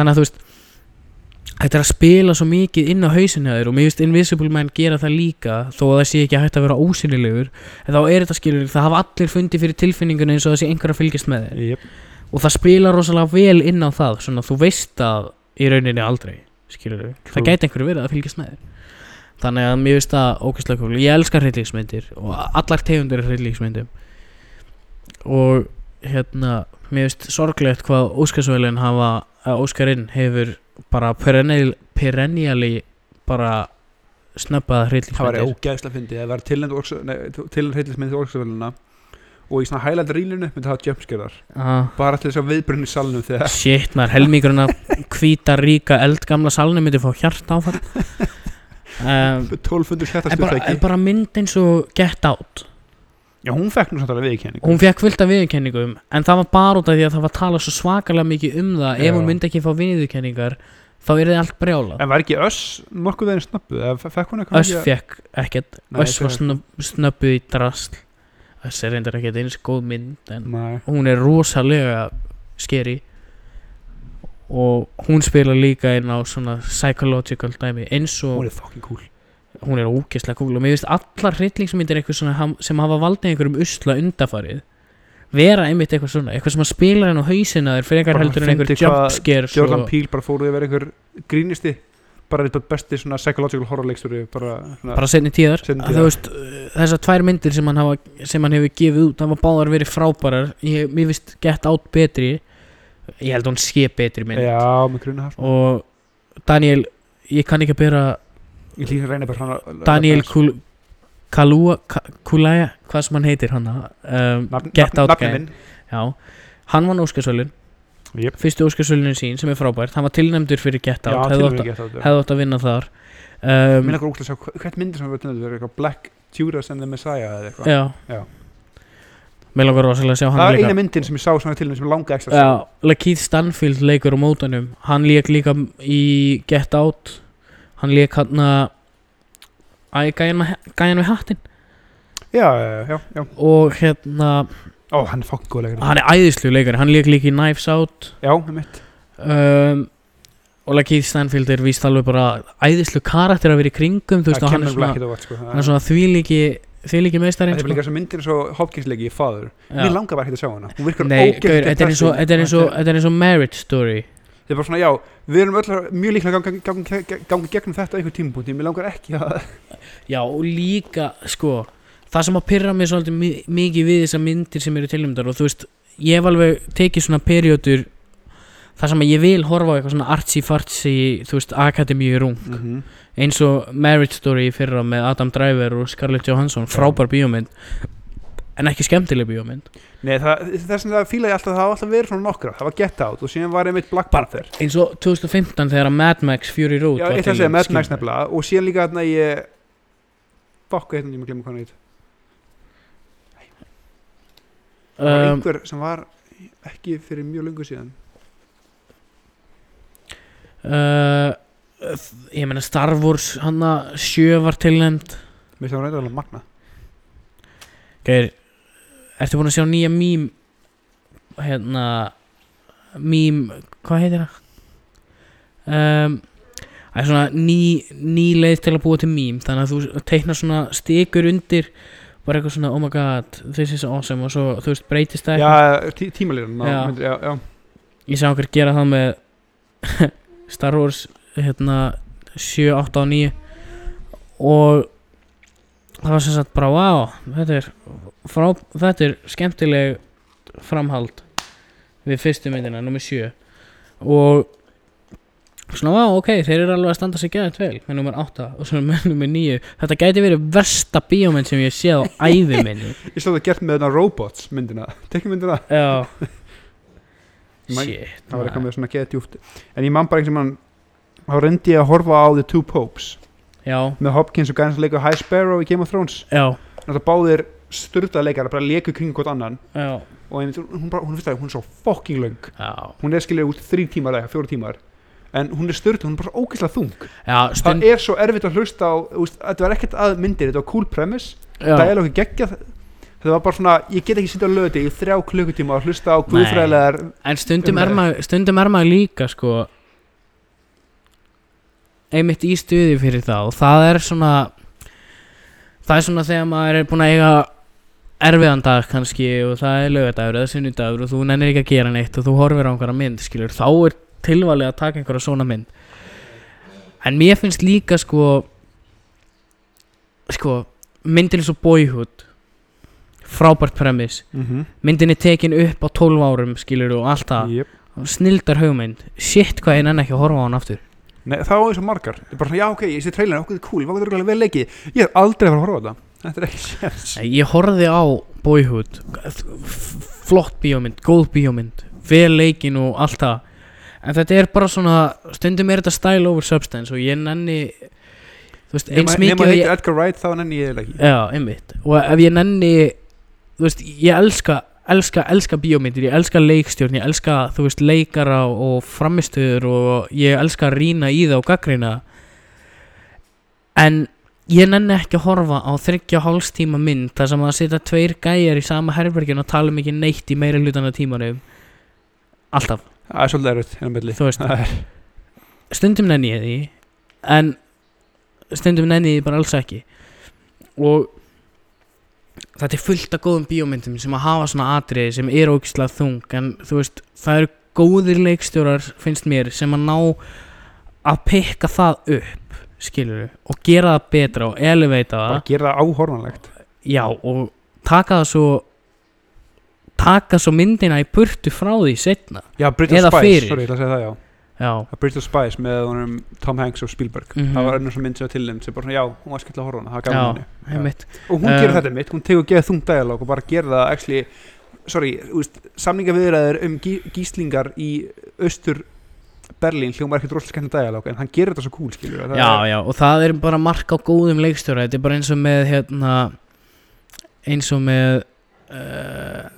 [SPEAKER 1] þannig að þú veist Þetta er að spila svo mikið inn á hausinu að þér og mér finnst Invisible Man gera það líka þó að það sé ekki hægt að vera ósynilegur en þá er þetta skilur, það hafa allir fundi fyrir tilfinningunni eins og það sé einhver að fylgjast með þér
[SPEAKER 2] Jep.
[SPEAKER 1] og það spila rosalega vel inn á það svona þú veist það í rauninni aldrei skilur,
[SPEAKER 2] True.
[SPEAKER 1] það gæti einhverju verið að fylgjast með þér þannig að mér finnst það ókvæslega kúl ég elskar hreillíksmyndir og allar tegundir af hreillíksmyndum og hérna mér finnst sorglegt hvað Óskarsvölin hafa að Óskarinn hefur bara perennial, perennially bara snöppað
[SPEAKER 2] það var
[SPEAKER 1] hreillíksmyndir
[SPEAKER 2] ógæðslega fyndið það var tilnænd heitlismyndið orksafélina og í svona hælænd rílunu myndi það hafa jumpscarear
[SPEAKER 1] ah,
[SPEAKER 2] bara til þess að viðbrunni salnum þegar
[SPEAKER 1] shit maður helmingurinn að hvíta ríka eldgamla salnum myndi fá hjart áfall um,
[SPEAKER 2] 1200
[SPEAKER 1] en bara,
[SPEAKER 2] hlættastuð
[SPEAKER 1] en bara mynd eins og Get Out
[SPEAKER 2] já hún fekk nú samtalið viðkenning
[SPEAKER 1] hún fekk fullt af viðurkenningum en það var bara út af því að það var talað svo svakalega mikið um það
[SPEAKER 2] Já.
[SPEAKER 1] ef hún myndi ekki fá viðurkenningar þá er það allt brjálað
[SPEAKER 2] en var ekki öss nokkuð veginn snabbu eða fe- fekk hún
[SPEAKER 1] Öss
[SPEAKER 2] eitthvað
[SPEAKER 1] fekk ekkert
[SPEAKER 2] Nei,
[SPEAKER 1] Öss var
[SPEAKER 2] þetta-
[SPEAKER 1] snöpp, snöppuð í drasl Öss er reyndar ekkert eins góð mynd en
[SPEAKER 2] Nei.
[SPEAKER 1] hún er rosalega skeri og hún spila líka inn á svona psychological dæmi eins og
[SPEAKER 2] hún er fucking cool
[SPEAKER 1] hún er ógeðslega cool og mér finnst allar hryllingsmyndir eitthvað svona ham- sem hafa valdið einhverjum usla undafarið vera einmitt eitthvað svona, eitthvað sem að spila henn á hausina þér fyrir einhver
[SPEAKER 2] Bara
[SPEAKER 1] heldur en einhver
[SPEAKER 2] fyndi hvað
[SPEAKER 1] jumpscare
[SPEAKER 2] Jordan
[SPEAKER 1] svo,
[SPEAKER 2] Peele bara fóruði að vera einhver grínisti bara eitthvað besti svona psychological horror leikstúri bara svona
[SPEAKER 1] bara setni tíðar,
[SPEAKER 2] Seinni
[SPEAKER 1] Að
[SPEAKER 2] tíðar.
[SPEAKER 1] þú veist, uh, þessar tvær myndir sem hann, hafa, sem hann hefur gefið út hafa báðar verið frábærar ég, mér finnst Get Out betri ég held að hún sé betri mynd
[SPEAKER 2] já með grunna það sko.
[SPEAKER 1] og Daniel, ég kann ekki að byrja
[SPEAKER 2] ég líka reyna bara svona
[SPEAKER 1] Daniel Kul, Kalua Ka- Kulaya, hvað sem hann heitir hann um,
[SPEAKER 2] Nafn-
[SPEAKER 1] Get
[SPEAKER 2] nafn-
[SPEAKER 1] Out
[SPEAKER 2] nafnið
[SPEAKER 1] gæinn.
[SPEAKER 2] minn.
[SPEAKER 1] Já, hann vann Óskarsvölin
[SPEAKER 2] Jep.
[SPEAKER 1] Fyrstu Óskarsvölinu sín sem er frábært Hann var tilnæmdur fyrir Get
[SPEAKER 2] Já,
[SPEAKER 1] Out
[SPEAKER 2] til
[SPEAKER 1] Hefði
[SPEAKER 2] og með
[SPEAKER 1] átt-
[SPEAKER 2] Get Out, já.
[SPEAKER 1] Hefði átt að vinna þar
[SPEAKER 2] Mér
[SPEAKER 1] um,
[SPEAKER 2] langar ógæðslega að sjá hva- hvert myndir sem við tennum, það er eitthvað Black Judas and the Messiah eða eitthvað.
[SPEAKER 1] Já
[SPEAKER 2] Já.
[SPEAKER 1] Mér langar rosalega að sjá
[SPEAKER 2] það
[SPEAKER 1] hann
[SPEAKER 2] er eina
[SPEAKER 1] líka
[SPEAKER 2] myndin sem ég sá svona til og með sem ég langa ekstra. að sjá.
[SPEAKER 1] Já, Lakeith Stanfield leikur á mótanum Hann leik líka í Get Out Hann leik hann að Æ, gæjan með gæjan með hattinn
[SPEAKER 2] Já, já, já, já, já.
[SPEAKER 1] Og hérna,
[SPEAKER 2] Ó, hann er fokkin góð leikur.
[SPEAKER 1] hann er æðislu leikari Hann leik líka í Knives Out
[SPEAKER 2] Já, með mitt.
[SPEAKER 1] um, og Lakeith Stanfield er víst alveg bara æðislu karakter að vera í kringum þú veist,
[SPEAKER 2] Það
[SPEAKER 1] og hann
[SPEAKER 2] kemur
[SPEAKER 1] er
[SPEAKER 2] svona,
[SPEAKER 1] svona,
[SPEAKER 2] ekki það vart, sko.
[SPEAKER 1] hann er svona þvílíki þvílíki meistarinn
[SPEAKER 2] Það er
[SPEAKER 1] sko.
[SPEAKER 2] líka svo myndir eins og Hopkins leiki í Father. Mér
[SPEAKER 1] Já.
[SPEAKER 2] langar bara ekki að sjá hana. Hún virkar
[SPEAKER 1] Nei,
[SPEAKER 2] ógeðslega
[SPEAKER 1] gaur, þetta er eins og-
[SPEAKER 2] depressing.
[SPEAKER 1] þetta er eins og- þetta er eins og marriage story
[SPEAKER 2] Þetta er bara svona, já, við erum öll að- mjög líklega að ganga- ganga ganga- ganga gegnum þetta á einhver tímapunkti. Mér langar ekki að...
[SPEAKER 1] já og líka sko það sem að pyrra mig svolítið mi- mikið við þessar myndir sem eru tilnæmdar og þú veist ég hef alveg tekið svona periodur þar sem að ég vil horfa á eitthvað svona artsy-fartsy, þú veist, akademíu rung eins og Marriage Story í fyrra með Adam Driver og Scarlett Johansson frábær bíómynd en ekki skemmtileg bíómynd
[SPEAKER 2] Nei, það, þess að það fíla ég alltaf, það hafa alltaf verið svona nokkra, það var Get Out og síðan var einmitt Black
[SPEAKER 1] Bara-
[SPEAKER 2] Panther.
[SPEAKER 1] eins og 2015 þegar að Mad Max Fury Road
[SPEAKER 2] Já,
[SPEAKER 1] var
[SPEAKER 2] ég ætla að
[SPEAKER 1] til
[SPEAKER 2] segja Mad Max
[SPEAKER 1] skilur.
[SPEAKER 2] nefnilega og síðan líka þarna ég, fokk, ég maður glemur hvað hann heit. Það var
[SPEAKER 1] um,
[SPEAKER 2] einhver sem var ekki fyrir mjög lungu síðan.
[SPEAKER 1] uh, þ- ég meina Star Wars hann að sjö var tilnæmt
[SPEAKER 2] Mér sem var reynda alveg magna.
[SPEAKER 1] Geir, ertu búin að sjá nýja mím hérna mím, hvað heitir það? Um, það er svona ný, ný leið til að búa til mím þannig að þú teiknar svona stikur undir bara eitthvað svona oh my god this is awesome og svo þú veist breytist það
[SPEAKER 2] Já,
[SPEAKER 1] eitthvað.
[SPEAKER 2] tí, tímalýran.
[SPEAKER 1] Já.
[SPEAKER 2] Já. já, já.
[SPEAKER 1] ég sá okkur gera það með Star Wars hérna 7, 8 og 9 og það var sem sagt bara wow, þetta er, frá, þetta er skemmtileg framhald við fyrstu myndina, nummer 7 og svona wow, ok, þeir eru alveg að standa sig geðan tveil með nummer 8 og svona með nummer 9 þetta gæti verið versta bíómynd sem ég séð á ævi minni
[SPEAKER 2] Ég slóði að gert með þarna Robots myndina, tekjumyndina.
[SPEAKER 1] já
[SPEAKER 2] Man-
[SPEAKER 1] shit
[SPEAKER 2] Það var eitthvað
[SPEAKER 1] maður.
[SPEAKER 2] með svona geða djúft. En ég man bara einhvern veginn, þá reyndi ég að horfa á The Two Popes
[SPEAKER 1] já,
[SPEAKER 2] með Hopkins og Gans leikur High Sparrow í Game of Thrones.
[SPEAKER 1] já,
[SPEAKER 2] Náttúrulega báðir styrta leikar, bara leiku kring hvort annan.
[SPEAKER 1] já,
[SPEAKER 2] Og einmitt, hún, bara, hún, fyrst, hún er svo fucking löng.
[SPEAKER 1] já.
[SPEAKER 2] Hún er skiljaði út þrý tímar eða fjóru tímar. En hún er styrta, hún er bara svo ógeðslega þung.
[SPEAKER 1] Já,
[SPEAKER 2] Það
[SPEAKER 1] stund,
[SPEAKER 2] er svo erfitt að hlusta á, þú veist, þetta var ekkert að myndir, þetta var cool premise.
[SPEAKER 1] já,
[SPEAKER 2] dæla okkur geggja þetta var bara svona, ég get ekki sitt á löti í þrjá klukkutíma og hlusta á guðfræðilegar
[SPEAKER 1] en stundum er,
[SPEAKER 2] Umræðu.
[SPEAKER 1] maður, stundum er maður líka sko einmitt í stuði fyrir þá og það er svona það er svona þegar maður er búin að eiga erfiðan dag kannski og það er lögadagur eða sunnudagur og þú nennir ekki að gera neitt og þú horfir á einhverja mynd skilur, þá er tilvalið að taka einhverja svona mynd en mér finnst líka sko sko myndin er svo boyhood frábært premiss
[SPEAKER 2] mm -hmm.
[SPEAKER 1] myndin er tekin upp á 12 árum skilur og allt það
[SPEAKER 2] yep.
[SPEAKER 1] snildar hugmynd, shit hvað ég nenni ekki að horfa á hann aftur
[SPEAKER 2] Nei, það var eins og margar, Ég bara svona, já ok, ég sé trailerin, okkur er cool, okkur er örugglega vel leikið ég er aldrei að fara að horfa á þetta þetta er ekki séns
[SPEAKER 1] Nei, ég horfði á Boyhood f- flott bíómynd, góð bíómynd vel leikin og allt það en þetta er bara svona, stundum er þetta style over substance og ég nenni þú veist, eins
[SPEAKER 2] nema
[SPEAKER 1] mikið
[SPEAKER 2] nema
[SPEAKER 1] og
[SPEAKER 2] heitir
[SPEAKER 1] ég,
[SPEAKER 2] Edgar Wright þá nenni ég það ekki
[SPEAKER 1] já, einmitt og ef ég nenni, þú veist ég elska, elska, elska bíómyndir ég elska leikstjórn, ég elska, þú veist leikara og framistöður og ég elska að rýna í það og gaggrina en ég nenni ekki að horfa á þryggja hálstíma mynd þar sem að setja tveir gæjar í sama herbergin og tala um ekki neitt í meira hlutana tímanum alltaf,
[SPEAKER 2] það er svolítið erfitt hérna á milli
[SPEAKER 1] þú veist
[SPEAKER 2] Það er-
[SPEAKER 1] stundum nenni ég því en stundum nenni ég því bara alls ekki og þetta er fullt af góðum bíómyndum sem að hafa svona atriði sem er ógislega þung en þú veist, það eru góðir leikstjórar finnst mér sem að ná að pikka það upp skilur og gera það betra og elevata það
[SPEAKER 2] bara að gera það áhorfanlegt
[SPEAKER 1] já og taka það svo taka svo myndina í burtu frá því setna
[SPEAKER 2] já, Bridge of
[SPEAKER 1] Eða
[SPEAKER 2] Spies,
[SPEAKER 1] fyrir.
[SPEAKER 2] sorry, ég ætla að segja það já
[SPEAKER 1] já,
[SPEAKER 2] Að Bridge of Spies með honum Tom Hanks og Spielberg
[SPEAKER 1] Mhm.
[SPEAKER 2] það var önnur svona mynd sem var tilnæmt sem bara svona, já, hún var skemmt að horfa á hana, það gaf
[SPEAKER 1] Já.
[SPEAKER 2] henni
[SPEAKER 1] einmitt
[SPEAKER 2] og hún gerir
[SPEAKER 1] Um,
[SPEAKER 2] þetta mitt, hún tegur geða þungt dæalóg og bara gerir það actually, sorry, úst, samningaviðræður um gí, gíslingar í austur Berlín hljóma ekkert rosalega skemmt dæalóg en hann gerir þetta svo cool skilur við, það
[SPEAKER 1] já,
[SPEAKER 2] er,
[SPEAKER 1] já, og það er bara mark á góðum leikstjóra þetta er bara eins og með hérna, eins og með uh,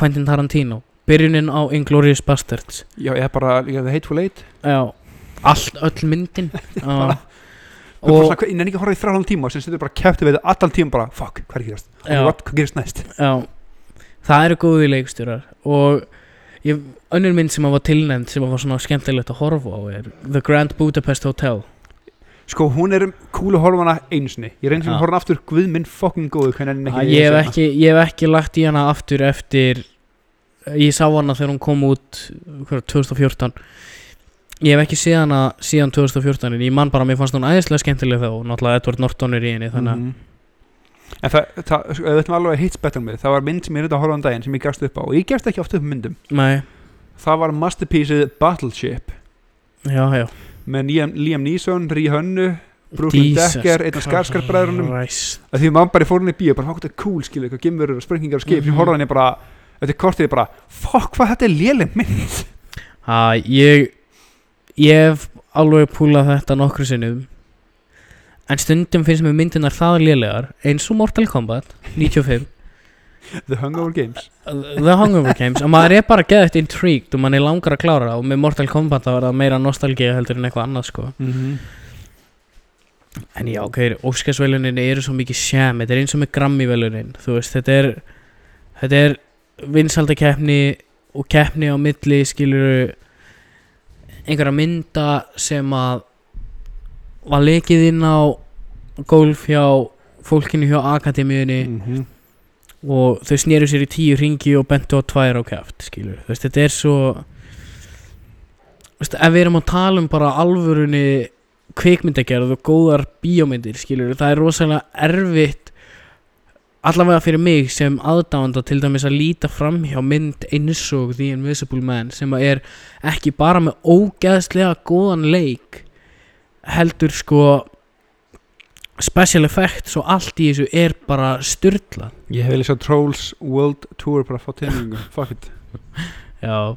[SPEAKER 1] Quentin Tarantino byrjunin á Inglourious Bastards
[SPEAKER 2] já, ég er bara líka það hateful eight
[SPEAKER 1] já, allt, öll myndin já,
[SPEAKER 2] og bara
[SPEAKER 1] og,
[SPEAKER 2] svona, hva- ég nenni ekki að horfa í þrjálan tíma og sem setur bara kæfti við þetta allan tíma bara fuck, hvað er að gerast,
[SPEAKER 1] Já.
[SPEAKER 2] og what, hvað gerist næst
[SPEAKER 1] já, það eru góði leikstjórar og ég, önnur mynd sem að var tilnæmt sem að var svona skemmtilegt að horfa á er The Grand Budapest Hotel
[SPEAKER 2] sko, hún er cool að horfa á hana einu sinni ég reyndi
[SPEAKER 1] Já.
[SPEAKER 2] að horfa hana aftur, guð minn fucking góð hvernig
[SPEAKER 1] að
[SPEAKER 2] nenni
[SPEAKER 1] ég, hef
[SPEAKER 2] að sjá hana.
[SPEAKER 1] ekki, ég hef ekki lagt í hana aftur eftir ég sá hana þegar hún kom út hver, 2014 ég hef ekki séð hana síðan 2014 en ég man bara, mér fannst hún æðislega skemmtileg þá og náttúrulega Edward Norton er í henni þannig mm
[SPEAKER 2] -hmm. En það, það, sko, ef við ætlum alveg að hitt spettum við, það var mynd sem ég reynda að horfa á um daginn sem ég gafst upp á og ég gefst ekki oft upp á myndum.
[SPEAKER 1] nei,
[SPEAKER 2] Það var masterpieceið Battleship
[SPEAKER 1] já, já,
[SPEAKER 2] með Liam, Liam Neeson, Rí Hönnu Brooklyn
[SPEAKER 1] Jesus
[SPEAKER 2] Decker, einn af Skarsgård-bræðrunum.
[SPEAKER 1] Christ.
[SPEAKER 2] að því að mamma bara fór inn í bíó bara hvað þetta er cool skilur eitthvað gimverur og sprengingar og skip mm
[SPEAKER 1] Mhm.
[SPEAKER 2] -hmm. horfði hann bara þetta er kortið bara fuck hvað þetta er lélind mynd
[SPEAKER 1] Ha, ég ég hef alveg púlað þetta nokkru sinnum en stundum finnst mér myndunar það lélegar eins og Mortal Kombat 95
[SPEAKER 2] The Hungover Games
[SPEAKER 1] The Hangover Games og maður er bara geðvægt intrigued og maður er langar að klára það og með Mortal Kombat þá er það meira nostalgía heldur en eitthvað annað sko
[SPEAKER 2] mm -hmm.
[SPEAKER 1] en já, ok, Óskarsvelunin eru svo mikið sjæm, þetta er eins og með Grammy-velunin þú veist, þetta er þetta er vinsaldakeppni og keppni á milli skilur einhverja mynda sem að var leikið inn á golf hjá fólkinu hjá akademíunni
[SPEAKER 2] Mhm.
[SPEAKER 1] og þau sneru sér í tíu ringi og bentu á tvær á kæft skilur, þú veist, þetta er svo þú veist, ef við erum að tala um bara alvörunni kvikmyndagerð og góðar bíómyndir skilur, það er rosalega erfitt allavega fyrir mig sem aðdáanda til dæmis að líta fram hjá mynd eins og The Invisible Man sem að er ekki bara með ógeðslega góðan leik heldur sko special effects og allt í þessu er bara styrla
[SPEAKER 2] ég hef líka Trolls World Tour bara fá tilningu fuck it
[SPEAKER 1] Já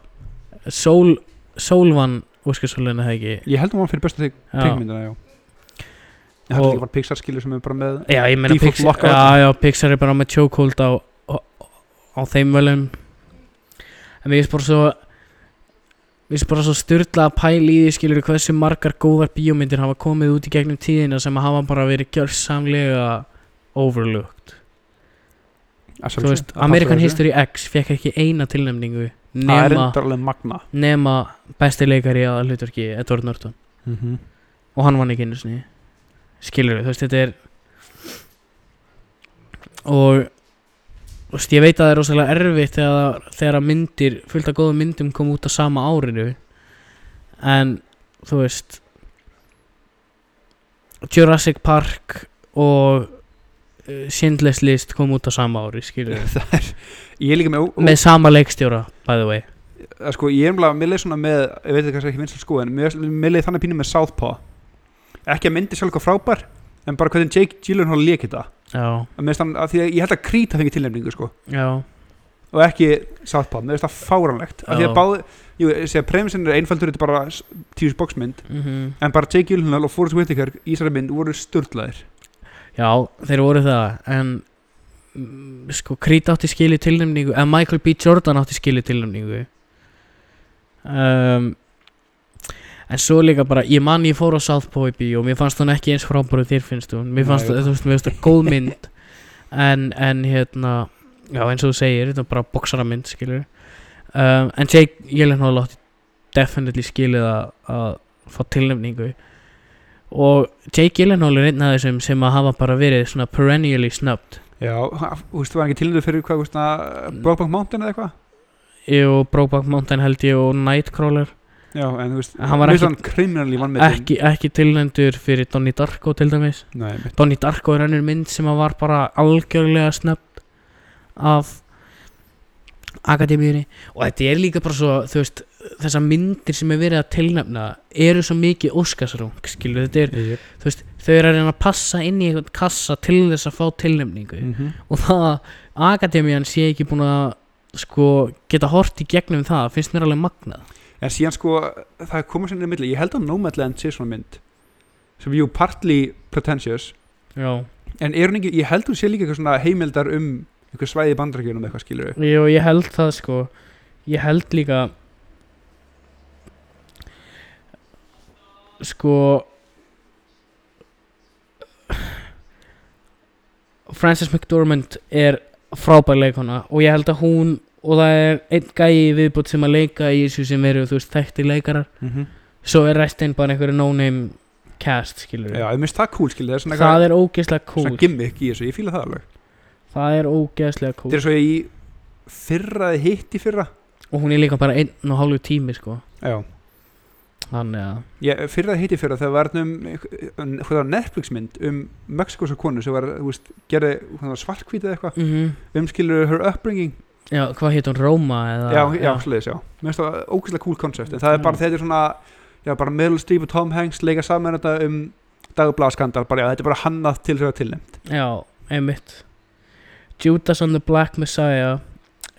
[SPEAKER 1] Sól, sól vann Óskarsvöldinu það ekki
[SPEAKER 2] ég held að hann fyrir bestu þig
[SPEAKER 1] já.
[SPEAKER 2] teikmyndina já ég held
[SPEAKER 1] Og-
[SPEAKER 2] ekki bara Pixar skilur sem er bara með
[SPEAKER 1] já, ég meina
[SPEAKER 2] Default
[SPEAKER 1] Pixar,
[SPEAKER 2] lockout.
[SPEAKER 1] já, já, Pixar er bara með chokehold á, á, á þeim velum En mér finnst bara svo Mér finnst bara svo styrla að pæla í því skilur hversu margar góðar bíómyndir hafa komið út í gegnum tíðina sem hafa bara verið gjörsamlega overlooked
[SPEAKER 2] að
[SPEAKER 1] Þú
[SPEAKER 2] sjálfsögðu,
[SPEAKER 1] veist,
[SPEAKER 2] að passa
[SPEAKER 1] American
[SPEAKER 2] þessu.
[SPEAKER 1] History X fekk ekki eina tilnefningu
[SPEAKER 2] það er
[SPEAKER 1] nema,
[SPEAKER 2] reyndar alveg magna
[SPEAKER 1] nema besti leikari að hlutverki Edward Norton
[SPEAKER 2] mm
[SPEAKER 1] Mhm.
[SPEAKER 2] -hmm.
[SPEAKER 1] og hann vann ekki einu sinni skilur þú veist þetta er og þú veist ég veit að það er rosalega erfitt þegar, þegar að myndir fullt af góðum myndum kom út á sama árinu en þú veist Jurassic Park og uh, Schindler's List kom út á sama ári skilur
[SPEAKER 2] það er ég er líka með, ó-
[SPEAKER 1] með sama leikstjóra by the way
[SPEAKER 2] að sko ég er umlega, mér leið svona með ég veit þetta kannski ekki vinsal sko en mér, mér leið þannig pínu með Southpaw ekki að myndi sjálf eitthvað frábær en bara hvernig Jake Gyllenhaal leik þetta
[SPEAKER 1] já,
[SPEAKER 2] að mér finnst hann, að því að ég held að Krít hafi fengið tilnefningu sko
[SPEAKER 1] já,
[SPEAKER 2] og ekki Southpaw, mér finnst það fáranlegt að því
[SPEAKER 1] Já.
[SPEAKER 2] að báði, jú, sé að premissin er einfaldur þetta er bara s- tíus boxmynd
[SPEAKER 1] mhm
[SPEAKER 2] en bara Jake Gyllenhaal og Forrest Whitaker í þessari mynd voru sturdlaðir
[SPEAKER 1] Já, þeir voru það En mm, sko, Creed átti skilið tilnæmningu En Michael B. Jordan átti skilið tilnæmningu um, En svo líka bara Ég man ég fór á Southpaw í bíó Mér fannst hún ekki eins frábúru þér finnst hún Mér fannst,
[SPEAKER 2] Nei.
[SPEAKER 1] þú veist, mér finnst það góð mynd En, en hérna Já, eins og þú segir, þetta er bara boksaramynd skilur um, En Jake Gyllenhaal átti definitely skilið að, að fá tilnefningu og Jake Gyllenhaal er einn af þessum sem að hafa bara verið svona perennially snubbed
[SPEAKER 2] já, hann- þú veist, var hann ekki tilnefningu fyrir hvað, þú veist,
[SPEAKER 1] Mm.
[SPEAKER 2] að Brokeback Mountain eða eitthvað
[SPEAKER 1] og Brokeback Mountain held ég og Nightcrawler
[SPEAKER 2] já, en þú veist,
[SPEAKER 1] Hann var
[SPEAKER 2] mér finnst
[SPEAKER 1] ekki-
[SPEAKER 2] hann kriminalí vannmetinn
[SPEAKER 1] ekki, ekki tilnendur fyrir Donnie Darko til dæmis
[SPEAKER 2] Nei, einmitt.
[SPEAKER 1] Donnie Darko er önnur mynd sem að var bara algjörlega snöpt af akademíunni og þetta er líka bara svo þú veist, þessar myndir sem er verið að tilnefna eru svo mikið óskarsrung skilur, þetta er,
[SPEAKER 2] Yep.
[SPEAKER 1] þú veist, þau eru að reyna að passa inn í einhvern kassa til þess að fá tilnefningu
[SPEAKER 2] Mhm.
[SPEAKER 1] og það að akademían sé ekki búin að sko geta hort í gegnum það finnst mér alveg magnað
[SPEAKER 2] En síðan sko, það komur sinni í milli Ég held að Nomadland sé svona mynd sem jú partly pretentious
[SPEAKER 1] Já,
[SPEAKER 2] en er hún ekki, ég held hún sé líka eitthvað svona heimildar um eitthvað svæði bandrækjunum eitthvað skilur við
[SPEAKER 1] Jú, ég held það sko Ég held líka Sko Frances McDormand er frábær leikona og ég held að hún og það er einn gæi í viðbútt sem að leika í þessu sem eru þú veist þekkti leikarar
[SPEAKER 2] mm -hmm.
[SPEAKER 1] svo er restinn bara einhverju no-name cast skilur
[SPEAKER 2] Já, ég minnst það cool skilur það er svona,
[SPEAKER 1] það er ógeðslega
[SPEAKER 2] svona
[SPEAKER 1] cool
[SPEAKER 2] gimmick í þessu, ég fíla það alveg
[SPEAKER 1] það er ógeðslega
[SPEAKER 2] Þetta
[SPEAKER 1] cool
[SPEAKER 2] er svo ég í fyrra eða hitt í fyrra
[SPEAKER 1] og hún er líka bara einn og hálfu tími sko
[SPEAKER 2] Já,
[SPEAKER 1] þannig að
[SPEAKER 2] ég, fyrra eða hitt í fyrra þegar var þarna um um- hvað það var Netflix mynd um Mexikosa konu sem var, þú veist, gerði svartkvítið eitthvað,
[SPEAKER 1] mm
[SPEAKER 2] um skilur her upbringing
[SPEAKER 1] Já, hvað hétt hún? Róma eða
[SPEAKER 2] já, já, sliðis, já mér finnst það ógeðslega cool concept en það er
[SPEAKER 1] Já.
[SPEAKER 2] bara þetta er svona já, bara Meryl Streep og Tom Hanks leika saman þetta um dagblaðskandal bara, já, þetta er bara hannað til þess að tilnæmt
[SPEAKER 1] Já, einmitt Judas on the Black Messiah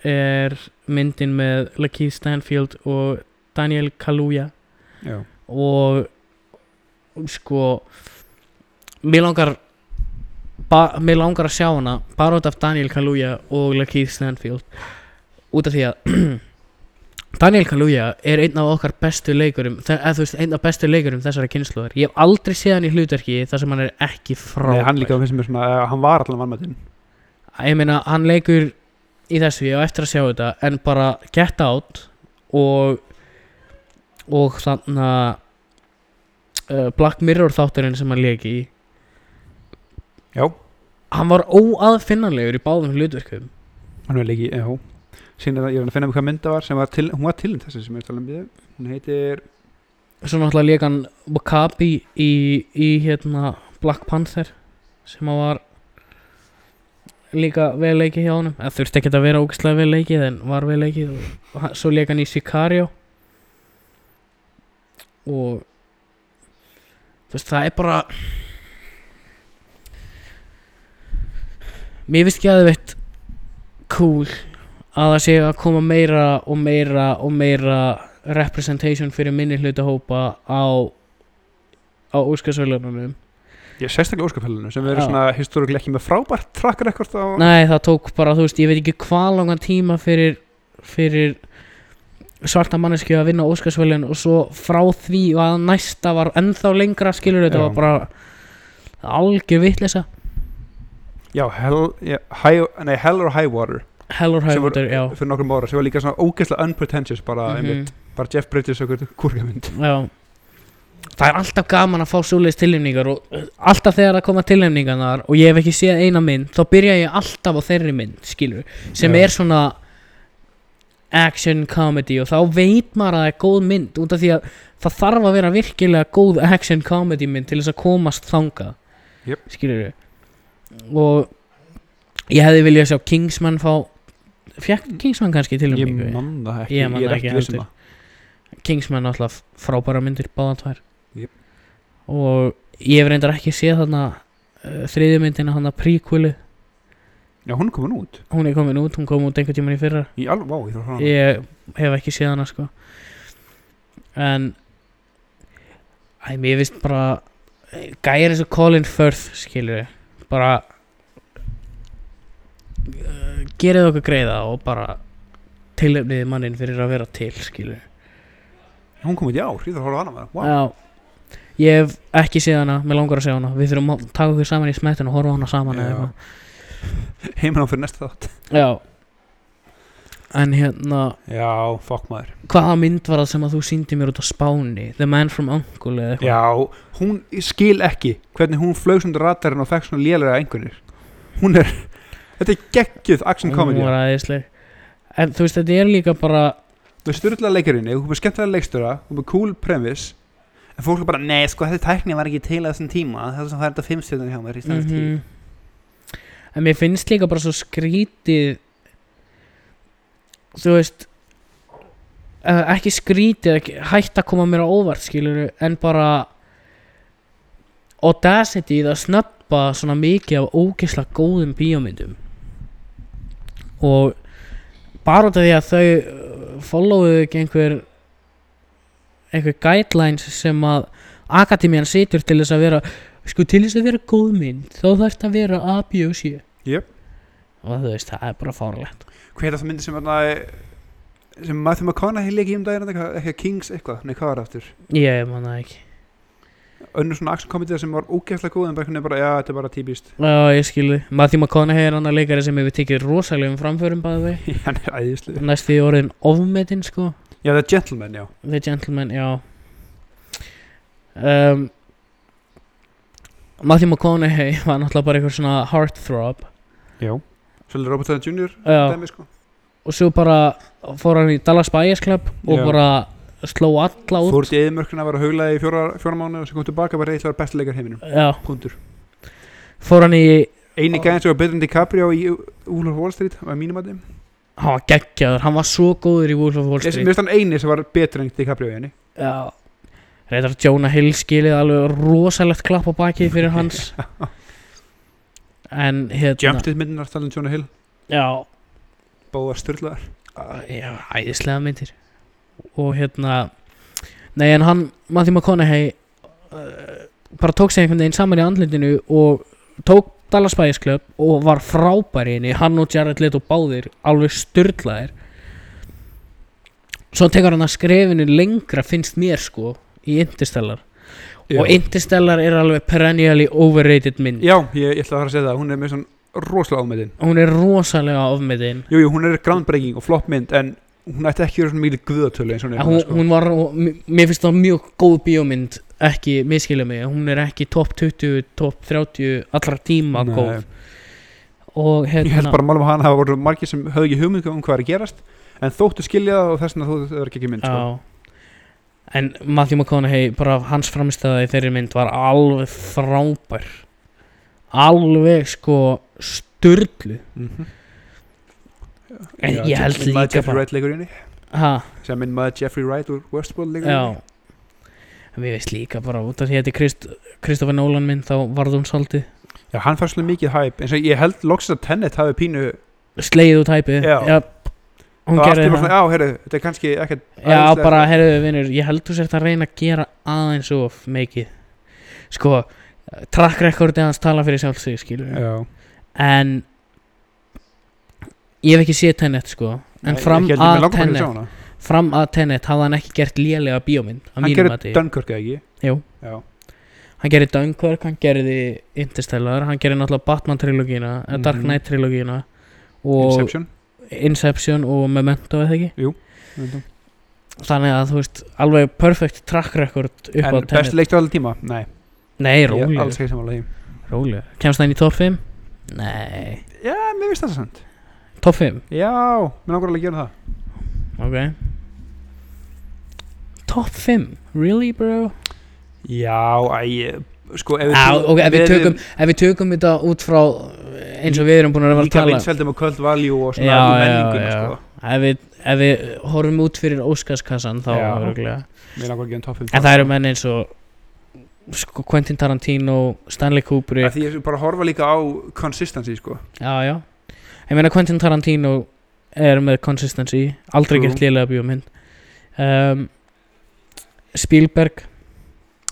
[SPEAKER 1] er myndin með Lakeith Stanfield og Daniel Kaluuya
[SPEAKER 2] já.
[SPEAKER 1] og sko mér langar ba, mér langar að sjá hana bara út af Daniel Kaluuya og Lakeith Stanfield út af því að Daniel Kaluuya er einn af okkar bestu leikurum þe- eða þú veist, einn af bestu leikurum þessara kynsluðar ég hef aldrei séð hann í hlutverki þar sem hann er ekki frá
[SPEAKER 2] Nei, hann líka finnst mér svona, eh, hann var allan vannmættin
[SPEAKER 1] ég meina hann leikur í þessu ég á eftir að sjá þetta en bara get out og og þannig að uh, Black Mirror þátturinn sem hann leik í
[SPEAKER 2] já,
[SPEAKER 1] hann var óaðfinnanlegur í báðum hlutverkum
[SPEAKER 2] hann var leiki, já síðan er það- ég er að finna mér hvað mynda var sem var til, hún var tilnæmt þessi sem ég er að tala um við hún heitir,
[SPEAKER 1] svo náttúrulega leik hann Wakabi í, í hérna Black Panther sem hann var líka vel leikið hjá honum það þurfti ekki að vera ógæslega vel leikið en var vel leikið og, og hann- svo leik hann í Sicario og þú veist það er bara mér finnst ekki að það veitt cool að það sé að koma meira og meira og meira representation fyrir minni hlutahópa á á úrskarsvölunum
[SPEAKER 2] ég sérstaklega óskapfælunum sem
[SPEAKER 1] Já.
[SPEAKER 2] verður svona historikulega ekki með frábært track record á,
[SPEAKER 1] Nei, það tók bara, þú veist, ég veit ekki hvað langan tíma fyrir, fyrir svarta manneski að vinna Óskarsvölin og svo frá því og að næsta var ennþá lengra skilur þetta
[SPEAKER 2] Já.
[SPEAKER 1] var bara algjör vitleysa
[SPEAKER 2] já, hell, já high, nei, hell or high water
[SPEAKER 1] Hellor
[SPEAKER 2] sem var-
[SPEAKER 1] Hæfundur, já
[SPEAKER 2] fyrir nokkrum ára sem var líka svona ógeðslega unpretentious bara,
[SPEAKER 1] Mhm.
[SPEAKER 2] einmitt, bara Jeff Bridges okkur kúrgamynd
[SPEAKER 1] Já Það er alltaf gaman að fá svoleiðis tilnefningar og uh, alltaf þegar það koma tilnefningarnar og ég hef ekki séð eina mynd þá byrja ég alltaf á þeirri mynd, skilur sem
[SPEAKER 2] Já.
[SPEAKER 1] er svona action comedy og þá veit maður að það er góð mynd út af því að það þarf að vera virkilega góð action comedy mynd til þess að komast þangað
[SPEAKER 2] Jöp.
[SPEAKER 1] skilur og ég hefði viljað sjá Kingsman fá fekk Kingsman kannski
[SPEAKER 2] ég
[SPEAKER 1] tilnefningu
[SPEAKER 2] man það ekki,
[SPEAKER 1] Ég
[SPEAKER 2] ég,
[SPEAKER 1] man
[SPEAKER 2] er
[SPEAKER 1] það
[SPEAKER 2] ekki
[SPEAKER 1] ekki
[SPEAKER 2] viss um
[SPEAKER 1] heldur.
[SPEAKER 2] það
[SPEAKER 1] Kingsman náttúrulega frábæra myndir báða tvær
[SPEAKER 2] Jep.
[SPEAKER 1] og ég hef reyndar ekki séð þarna uh, þriðju myndina hann að prequelu
[SPEAKER 2] já, hún er komin út,
[SPEAKER 1] hún er komin út, hún kom út einhvern tímann í fyrra
[SPEAKER 2] í alveg, vá, ég þarf að hana
[SPEAKER 1] ég hef ekki séð hana sko en æ, mér finnst bara eh, gæjar eins og Colin Firth skilur við bara uh, gerið okkur greiða og bara tilöfniði mannin fyrir að vera til skilur við
[SPEAKER 2] hún kom út í ár, ég þarf að horfa á hana með wow.
[SPEAKER 1] Já Ég hef ekki séð hana, mér langar að séð hana Við þurfum að taka okkur saman í smettun og horfa á hana saman eða
[SPEAKER 2] Já.
[SPEAKER 1] eitthvað
[SPEAKER 2] heimann á fyrir næsta þátt
[SPEAKER 1] Já En hérna,
[SPEAKER 2] já, fokk maður
[SPEAKER 1] hvaða mynd var það sem að þú síndi mér út á Spáni? The Man from Uncle eða eitthvað
[SPEAKER 2] já, hún ég skil ekki hvernig hún flög sem ratarinn og fekk svona lélega einhvernir hún er, þetta er geggjuð action comedy,
[SPEAKER 1] Hún var aðeinsleg En þú veist, þetta er líka bara
[SPEAKER 2] þú er styrla leikarinni þú er með skemmtilega leikstöra, þú er með cool premise en fólk er bara, nei, sko, þessi tækni var ekki til á þessum tíma, þess að það er þetta fimmstjörnum hjá mér í stæðan tíu
[SPEAKER 1] Mhm. En mér finnst líka bara svo skrítið Þú veist eh, Ekki skrítið ekki, Hætt að koma mér á óvart skilur En bara Audacity að snöppa Svona mikið af ógeðslega góðum bíómyndum Og Bara út af því að þau eh, Followuðu ekki einhver Einhver guidelines sem að Akademian situr til þess að vera sko til þess að vera góð mynd þá þarf það að vera A, B og C
[SPEAKER 2] Jöp.
[SPEAKER 1] og þú veist, það er bara fárlegt
[SPEAKER 2] hvað er það myndi sem þarna sem Matthew McConaughey leik í um daginn eitthvað, eitthvað Kings eitthvað, nei hvað var það aftur
[SPEAKER 1] ég man það ekki
[SPEAKER 2] önnur svona action comedy sem var ógeðslega góð en bara, einhvern veginn bara já, þetta er bara típist
[SPEAKER 1] já, ég skilði, Matthew McConaughey er annar leikari sem hefur tekið rosalegum framförum bæði vei,
[SPEAKER 2] hann er æðislega
[SPEAKER 1] næstu í orðin ofmetinn sko,
[SPEAKER 2] já, það er Gentleman, já
[SPEAKER 1] The Gentleman, já um, Matthew McConaughey var náttúrulega bara einhver svona heartthrob
[SPEAKER 2] já svolítið Robert Downey Jr.
[SPEAKER 1] já,
[SPEAKER 2] dæmi sko
[SPEAKER 1] og svo bara fór hann í Dallas Buyers Club og
[SPEAKER 2] Já.
[SPEAKER 1] bara sló alla út
[SPEAKER 2] fór til eðimörkuna var að haugla í fjóra, fjóra mánu og sem kom tilbaka bara eitthvað bestileikar heiminum
[SPEAKER 1] já,
[SPEAKER 2] hundur
[SPEAKER 1] fór hann í
[SPEAKER 2] eini gæðin sem var betur en DiCaprio í Úlf Wall Street var mínum að þeim
[SPEAKER 1] hann var geggjaður, hann var svo góður í Wolf of Wall
[SPEAKER 2] Ég-
[SPEAKER 1] Street
[SPEAKER 2] mér finnst hann eini sem var betur en DiCaprio í henni
[SPEAKER 1] Já reyndar Jonah Hill skilið alveg rosalegt klapp á bakið fyrir hans en hérna
[SPEAKER 2] Jumped myndinar talin Jonah Hill
[SPEAKER 1] já,
[SPEAKER 2] Bóða styrlaðar
[SPEAKER 1] já, æðislega myndir og hérna nei en hann, Matthew McConaughey uh, bara tók sig einhvern veginn saman í andlindinu og tók Dallas Buyers Club og var frábær í henni hann og Jared Leto báðir alveg styrlaðir svo tekur hann að skrefinu lengra finnst mér sko í Interstellar og Interstellar er alveg perennially overrated mynd
[SPEAKER 2] Já, ég, ég ætla að fara að segja það Hún er með svona rosalega ámætin
[SPEAKER 1] hún er rosalega ofmiðin
[SPEAKER 2] Jú, jú, hún er groundbreaking og flott mynd En hún ætti ekki verið svona mjög guðatölu eins og hún er
[SPEAKER 1] hún,
[SPEAKER 2] núna, sko.
[SPEAKER 1] hún var, og m- mér finnst það mjög góð bíómynd ekki, miskilja mig, hún er ekki top 20, top 30 allra tíma
[SPEAKER 2] Nei.
[SPEAKER 1] góð og
[SPEAKER 2] Ég held
[SPEAKER 1] hérna,
[SPEAKER 2] bara að málum að hann hafa voru margir sem höfðu ekki hugmynd um hvað er að gerast En þóttu skilja það og þess vegna þóttu það er ekki mynd sko.
[SPEAKER 1] já en Matthew McConaughey, bara hans framistæða í þeirri mynd var alveg frábær alveg sko styrlu
[SPEAKER 2] Mhm.
[SPEAKER 1] En
[SPEAKER 2] Já,
[SPEAKER 1] ég held
[SPEAKER 2] minn maður
[SPEAKER 1] líka
[SPEAKER 2] Jeffrey
[SPEAKER 1] bara-
[SPEAKER 2] Wright leikur í henni
[SPEAKER 1] ha,
[SPEAKER 2] sem minn maður Jeffrey Wright úr Westworld leikur í henni.
[SPEAKER 1] já Mér veist líka bara út af því að þetta er Krist, Kristoffer Nolan mynd þá varð hún svolítið
[SPEAKER 2] Já, hann fær svolítið mikið hæp eins og ég held loksins að Tenet hafi pínu
[SPEAKER 1] sleið út hæpið
[SPEAKER 2] Já.
[SPEAKER 1] Jafn, hún
[SPEAKER 2] það var allt
[SPEAKER 1] gerði
[SPEAKER 2] í
[SPEAKER 1] það
[SPEAKER 2] bara svona, já, herru, þetta er kannski ekkert
[SPEAKER 1] Já,
[SPEAKER 2] æðislega-
[SPEAKER 1] bara, heyrðu, vinnur, ég held þú sért að reyna að gera aðeins of mikið Sko, track recordið hans tala fyrir sjálf sig, skilur við.
[SPEAKER 2] Já,
[SPEAKER 1] En ég hef ekki séð Tenet, sko En
[SPEAKER 2] Nei,
[SPEAKER 1] fram
[SPEAKER 2] ég held ég mig
[SPEAKER 1] að,
[SPEAKER 2] langar bara til að sjá
[SPEAKER 1] tenet,
[SPEAKER 2] hana.
[SPEAKER 1] fram að Tenet hafði hann ekki gert lélega bíómynd að
[SPEAKER 2] Hann
[SPEAKER 1] mínum
[SPEAKER 2] gerir
[SPEAKER 1] mati.
[SPEAKER 2] Dunkirk eða ekki
[SPEAKER 1] Jú.
[SPEAKER 2] Já,
[SPEAKER 1] Hann gerði Dunkirk, hann gerði Interstellar Hann gerði náttúrulega Batman trilógina, mm
[SPEAKER 2] Mhm.
[SPEAKER 1] Dark Knight trilógina Og Inception,
[SPEAKER 2] Inception
[SPEAKER 1] og Memento, eða ekki
[SPEAKER 2] myndum.
[SPEAKER 1] Þannig að, þú veist, alveg perfect track record upp á
[SPEAKER 2] En
[SPEAKER 1] Tenet
[SPEAKER 2] best leiktur allir tíma? Nei,
[SPEAKER 1] Nei,
[SPEAKER 2] ég er
[SPEAKER 1] rólegur
[SPEAKER 2] alls ekki samanlega því
[SPEAKER 1] Rólegur Kemst það inn í top 5? Nei
[SPEAKER 2] Já, mér finnst það samt
[SPEAKER 1] Top 5?
[SPEAKER 2] Já, mér langar alveg að gera það
[SPEAKER 1] Ok Top 5? Really bro?
[SPEAKER 2] Já, æ, ég- sko ef við
[SPEAKER 1] Já,
[SPEAKER 2] tölum-
[SPEAKER 1] ok, ef við
[SPEAKER 2] erum
[SPEAKER 1] tökum Ef við tökum þetta út frá eh, eins og við erum búin að vera að
[SPEAKER 2] Líka
[SPEAKER 1] tala
[SPEAKER 2] vinseldum og kvöld valjú og svona
[SPEAKER 1] Já,
[SPEAKER 2] í
[SPEAKER 1] já,
[SPEAKER 2] menninguna,
[SPEAKER 1] já.
[SPEAKER 2] sko
[SPEAKER 1] Ef við, ef við horfum út fyrir Óskarskassan þá
[SPEAKER 2] Já.
[SPEAKER 1] örgulega
[SPEAKER 2] Mér langar að gera toppum
[SPEAKER 1] En það eru menn eins og sko, Quentin Tarantino, Stanley Kubrick
[SPEAKER 2] Því ég er bara að horfa líka á consistency, sko
[SPEAKER 1] Já, já Ég meina Quentin Tarantino er með consistency Aldrei
[SPEAKER 2] True.
[SPEAKER 1] gert lélega bíómynd um, Spielberg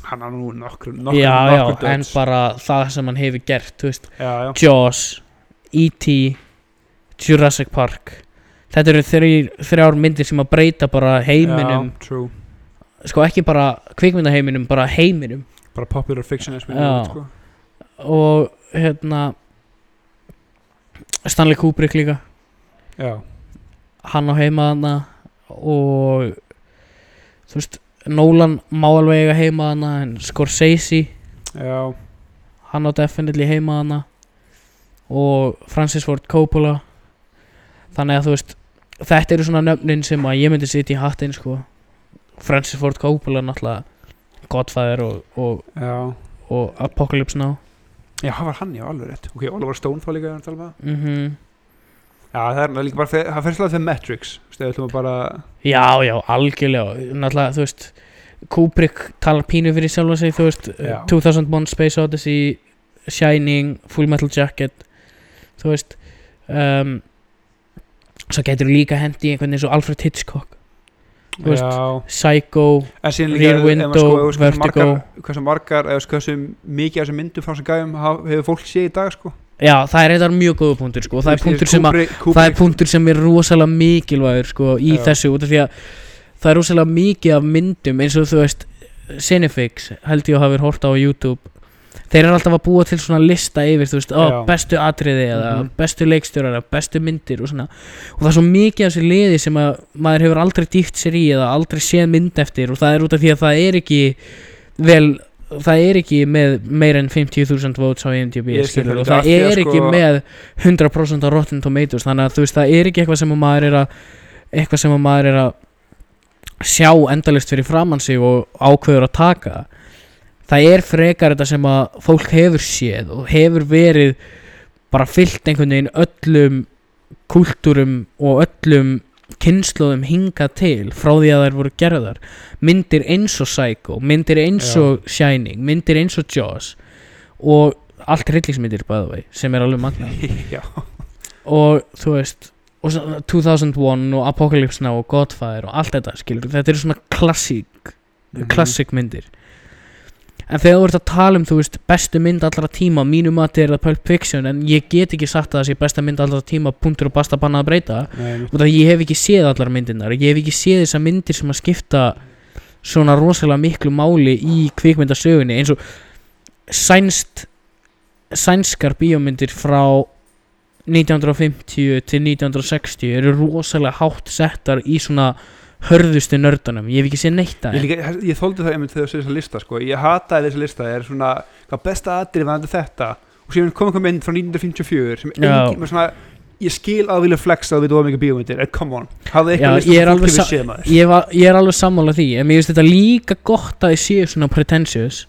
[SPEAKER 2] Hann er nú nokkur, nokkur,
[SPEAKER 1] Já, já,
[SPEAKER 2] nokkur
[SPEAKER 1] en bara það sem hann hefur gert þú veist,
[SPEAKER 2] Já, já
[SPEAKER 1] Jaws, E.T. Jurassic Park Þetta eru þrjár, þrjár myndir sem að breyta bara heiminum
[SPEAKER 2] Já, true
[SPEAKER 1] Sko ekki bara kvikmyndaheiminum, bara heiminum
[SPEAKER 2] Bara popular fiction eins og við
[SPEAKER 1] Já.
[SPEAKER 2] erum, sko
[SPEAKER 1] Og hérna Stanley Kubrick líka
[SPEAKER 2] Já,
[SPEAKER 1] hann á heimaðana og þú veist, Nolan má alveg eiga heimaðana en Scorsese
[SPEAKER 2] já,
[SPEAKER 1] hann á definitely heimaðana og Francis Ford Coppola þannig að þú veist þetta eru svona nöfnin sem að ég myndi sitja í hattinn sko Francis Ford Coppola náttúrulega Godfather og, og,
[SPEAKER 2] já
[SPEAKER 1] og Apocalypse Now
[SPEAKER 2] Já, það var hann, já, alveg rétt Ok, Oliver Stone þá líka, ég er að tala um það
[SPEAKER 1] mhm
[SPEAKER 2] Já, það er náttúrulega líka bara, þe- það fyrir sláð þegar Matrix Þegar ætlum að bara
[SPEAKER 1] Já, já, algjörlega Náttúrulega, þú veist Kubrick talar pínu fyrir sjálfa sig Þú veist,
[SPEAKER 2] Já.
[SPEAKER 1] 2001 Space Odyssey Shining, Full Metal Jacket Þú veist um, Svo getur líka hendi einhvern eins og Alfred Hitchcock Þú veist,
[SPEAKER 2] Já
[SPEAKER 1] Psycho
[SPEAKER 2] En síðan líka
[SPEAKER 1] Rear
[SPEAKER 2] ef- ef maður
[SPEAKER 1] Window,
[SPEAKER 2] sko, ef sko, hversu
[SPEAKER 1] Vertigo.
[SPEAKER 2] margar- Hversu margar, eða sko, hversu mikið af þessum myndum frá þessum gæjum hafa- hefur fólk séð í dag, sko
[SPEAKER 1] Já, það er eitthvað mjög góða punktur sko. það, er
[SPEAKER 2] Þú veist,
[SPEAKER 1] punktur sem að,
[SPEAKER 2] Kubrick-
[SPEAKER 1] það er
[SPEAKER 2] Kubrick-
[SPEAKER 1] punktur sem er rosalega mikilvægur sko, í
[SPEAKER 2] Já.
[SPEAKER 1] þessu út af því að það er rosalega mikið af myndum eins og þú veist Cinefix held ég að hafa hort á YouTube þeir eru alltaf að búa til svona lista yfir þú veist, ó,
[SPEAKER 2] Já.
[SPEAKER 1] bestu atriði eða
[SPEAKER 2] Mhm.
[SPEAKER 1] bestu leikstjórar eða bestu myndir og svona og það er svo mikið af þessu liði sem að maður hefur aldrei dýft sér í eða aldrei séð mynd eftir og það er út af því að það er ekki vel, það er ekki með meira en 50.000 votes á IMDb
[SPEAKER 2] Ég skil
[SPEAKER 1] skilur, og
[SPEAKER 2] það líka,
[SPEAKER 1] það
[SPEAKER 2] af því að
[SPEAKER 1] er ekki
[SPEAKER 2] sko-
[SPEAKER 1] með 100% á Rotten Tomatoes þannig að þú veist það er ekki eitthvað sem að maður er að eitthvað sem að maður er að sjá endalist fyrir framann sig og ákveður að taka það er frekar þetta sem að fólk hefur séð og hefur verið bara fyllt einhvern veginn öllum kúltúrum og öllum kynnslóðum hingað til frá því að þær voru gerðar myndir eins og Psycho, myndir eins
[SPEAKER 2] Já.
[SPEAKER 1] og Shining, myndir eins og Jaws og allt rillingsmyndir bæðvei sem er alveg magna
[SPEAKER 2] já,
[SPEAKER 1] og þú veist og svo 2001 og Apocalypse Now og Godfather og allt þetta skilur þetta eru svona klassík
[SPEAKER 2] Mhm.
[SPEAKER 1] klassík myndir en þegar þú ert að tala um þú veist bestu mynd allra tíma mínum að þetta er það Pulp Fiction en ég get ekki sagt að það sé besta mynd allra tíma punktur og basta bannað að breyta
[SPEAKER 2] Nei,
[SPEAKER 1] og það ég hef ekki séð allar myndirnar ég hef ekki séð þessar myndir sem að skipta svona rosalega miklu máli í kvikmyndasögunni eins og sænst sænskar bíómyndir frá 1950 til 1960 eru rosalega hátt settar í svona hörðustu nördunum ég hef ekki séð neitt að
[SPEAKER 2] Ég, líka, ég þóldi það einmitt þegar þú segir þessa lista sko. ég hataði þessa lista, það er svona hvað besta atrið var þetta og síðan kom einhver mynd frá 1954 sem
[SPEAKER 1] Já.
[SPEAKER 2] engin, með svona, ég skil að vilja flexa að við erum mikið bíómyndir, en come on hafði
[SPEAKER 1] Já,
[SPEAKER 2] eitthvað list
[SPEAKER 1] ég er
[SPEAKER 2] sem
[SPEAKER 1] alveg
[SPEAKER 2] fólk
[SPEAKER 1] sa-
[SPEAKER 2] hefur séð maður
[SPEAKER 1] ég, var, ég er alveg sammála því en mér finnst þetta líka gott að ég séu svona pretentious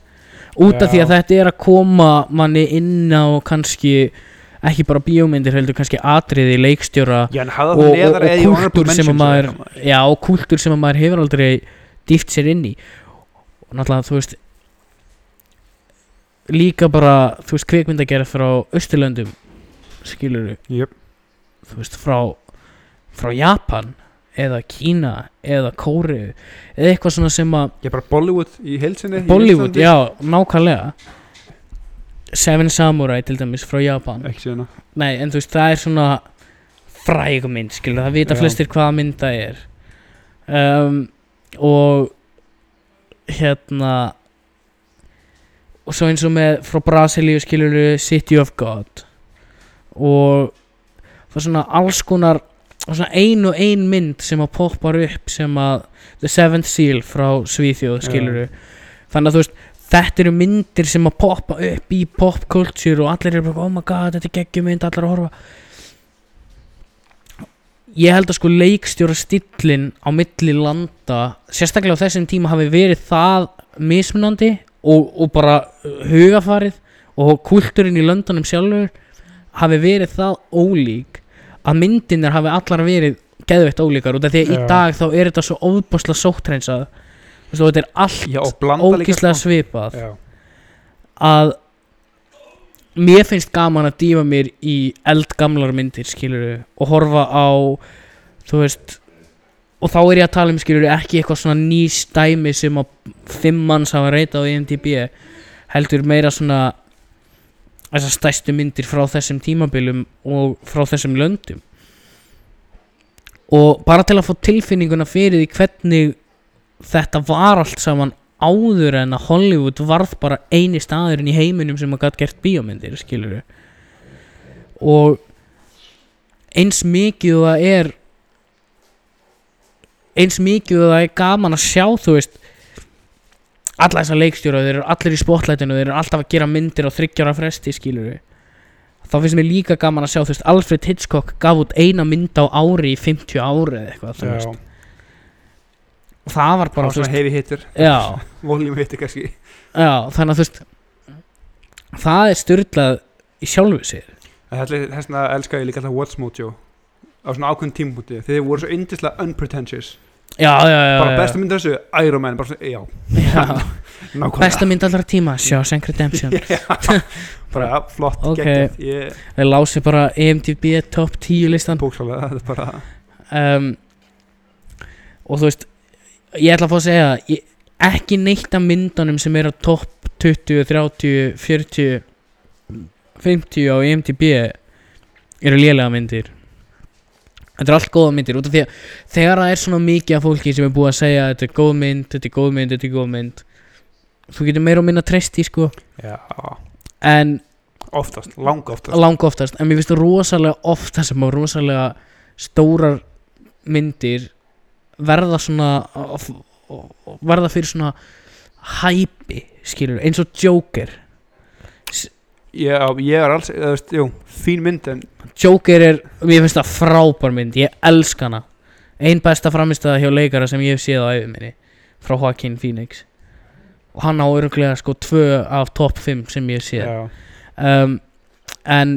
[SPEAKER 1] út af
[SPEAKER 2] Já.
[SPEAKER 1] því að þetta er að koma manni inn á kannski ekki bara bíómyndir heldur kannski atriði leikstjóra
[SPEAKER 2] Já, en
[SPEAKER 1] og,
[SPEAKER 2] hafði það
[SPEAKER 1] og,
[SPEAKER 2] neðar eða í
[SPEAKER 1] og
[SPEAKER 2] honorable
[SPEAKER 1] kúltúr sem að
[SPEAKER 2] mentions
[SPEAKER 1] maður
[SPEAKER 2] eða eitthvað, maður.
[SPEAKER 1] já, og kúltúr sem að maður hefur aldrei dýft sér inn í og náttúrulega þú veist líka bara þú veist kvikmyndagerð frá Östurlöndum skilur
[SPEAKER 2] Jöp.
[SPEAKER 1] þú veist frá frá Japan eða Kína eða Kóru eða eitthvað svona sem að
[SPEAKER 2] Ég er bara Bollywood í heilsinni
[SPEAKER 1] Bollywood, já, nákvæmlega Seven Samurai til dæmis frá Japan
[SPEAKER 2] Ekki síðan að-
[SPEAKER 1] Nei, en þú veist, það er svona fræg mynd, skilur, það vita
[SPEAKER 2] Já.
[SPEAKER 1] flestir hvaða mynd það er um, og hérna og svo eins og með frá Brasilíu skilur City of God og það er svona alls konar og svona ein og ein mynd sem að poppar upp sem að The Seventh Seal frá Svíþjóð
[SPEAKER 2] Já.
[SPEAKER 1] skilur þannig að þú veist þetta eru myndir sem að poppa upp í popkultúr og allir eru bara oh my god þetta er geggjum mynd allir að horfa ég held að sko leikstjóra stillin á milli landa sérstaklega á þessum tíma hafi verið það mismunandi og, og bara uh, hugafarið og kultúrin í löndunum sjálfur hafi verið það ólík að myndinir hafi allar verið geðveitt ólíkar út af því að
[SPEAKER 2] Já.
[SPEAKER 1] í dag þá er þetta svo óbúslega sóttrensað Þú veist, og þetta er allt
[SPEAKER 2] Já, og blanda
[SPEAKER 1] ógíslega
[SPEAKER 2] líka sko.
[SPEAKER 1] svipað
[SPEAKER 2] Já,
[SPEAKER 1] að mér finnst gaman að dýfa mér í eldgamlar myndir skiluru og horfa á þú veist og þá er ég að tala um skiluru ekki eitthvað svona nýstæmi sem að fimm manns hafa reytað á IMDb heldur meira svona þessar stæstu myndir frá þessum tímabilum og frá þessum löndum og bara til að fá tilfinninguna fyrir því hvernig þetta var allt saman áður en að Hollywood varð bara eini staðurinn í heiminum sem að gætt gert bíómyndir skilur og eins mikið og það er eins mikið og það er gaman að sjá þú veist alla þessar leikstjóra, þeir eru allir í spotlightinu þeir eru alltaf að gera myndir á þryggjara fresti skilur þá finnst mér líka gaman að sjá þú veist, Alfred Hitchcock gaf út eina mynd á ári í 50 ári eða eitthvað, þú
[SPEAKER 2] já.
[SPEAKER 1] veist og það var
[SPEAKER 2] Bara
[SPEAKER 1] bara, þú
[SPEAKER 2] svona
[SPEAKER 1] veist,
[SPEAKER 2] hefi hittir
[SPEAKER 1] já
[SPEAKER 2] Voljum hittir kannski
[SPEAKER 1] Já, þannig að þú veist Það er styrlað í sjálfu sér
[SPEAKER 2] En þetta er- Þess vegna elska ég líka alltaf What's Mojo Á svona ákveðin tímpúti Þeir voru svo yndislega unpretentious
[SPEAKER 1] Já, já, já,
[SPEAKER 2] Bara
[SPEAKER 1] já.
[SPEAKER 2] besta mynd af þessu Iron Man Bara svona, já,
[SPEAKER 1] já.
[SPEAKER 2] nákvæmlega
[SPEAKER 1] Besta mynd allra tíma, Shawshank Redemption
[SPEAKER 2] Já, bara ja, flott
[SPEAKER 1] Ok.
[SPEAKER 2] okay. geggjart ég
[SPEAKER 1] Þeir lási bara E IMDb top 10 listan
[SPEAKER 2] bókslega þetta er bara
[SPEAKER 1] um, Og þú veist Ég ætla að fá að segja ég, Ekki neitt af myndunum sem eru á top 20, 30, 40 50 á E IMDb Eru lélega myndir Þetta er allt góða myndir út af því að þegar það er svona mikið af fólki sem er búið að segja þetta er góð mynd, þetta er góð mynd, þetta er góð mynd þú getur meira og minna treyst í sko
[SPEAKER 2] já,
[SPEAKER 1] en
[SPEAKER 2] oftast, langa oftast
[SPEAKER 1] langa oftast en mér finnst rosalega ofta sem á rosalega stórar myndir verða svona of- of- verða fyrir svona hæpi skilur eins og Joker
[SPEAKER 2] ég, ég er alls, eða, þú veist, jú, fín mynd en
[SPEAKER 1] Joker er, mér finnst það frábær mynd ég elska hana ein besta framistæða hjá leikara sem ég hef séð á æfum minni frá Joaquin Phoenix og hann á öruglega sko tvö af top 5 sem ég hef séð
[SPEAKER 2] já,
[SPEAKER 1] um, en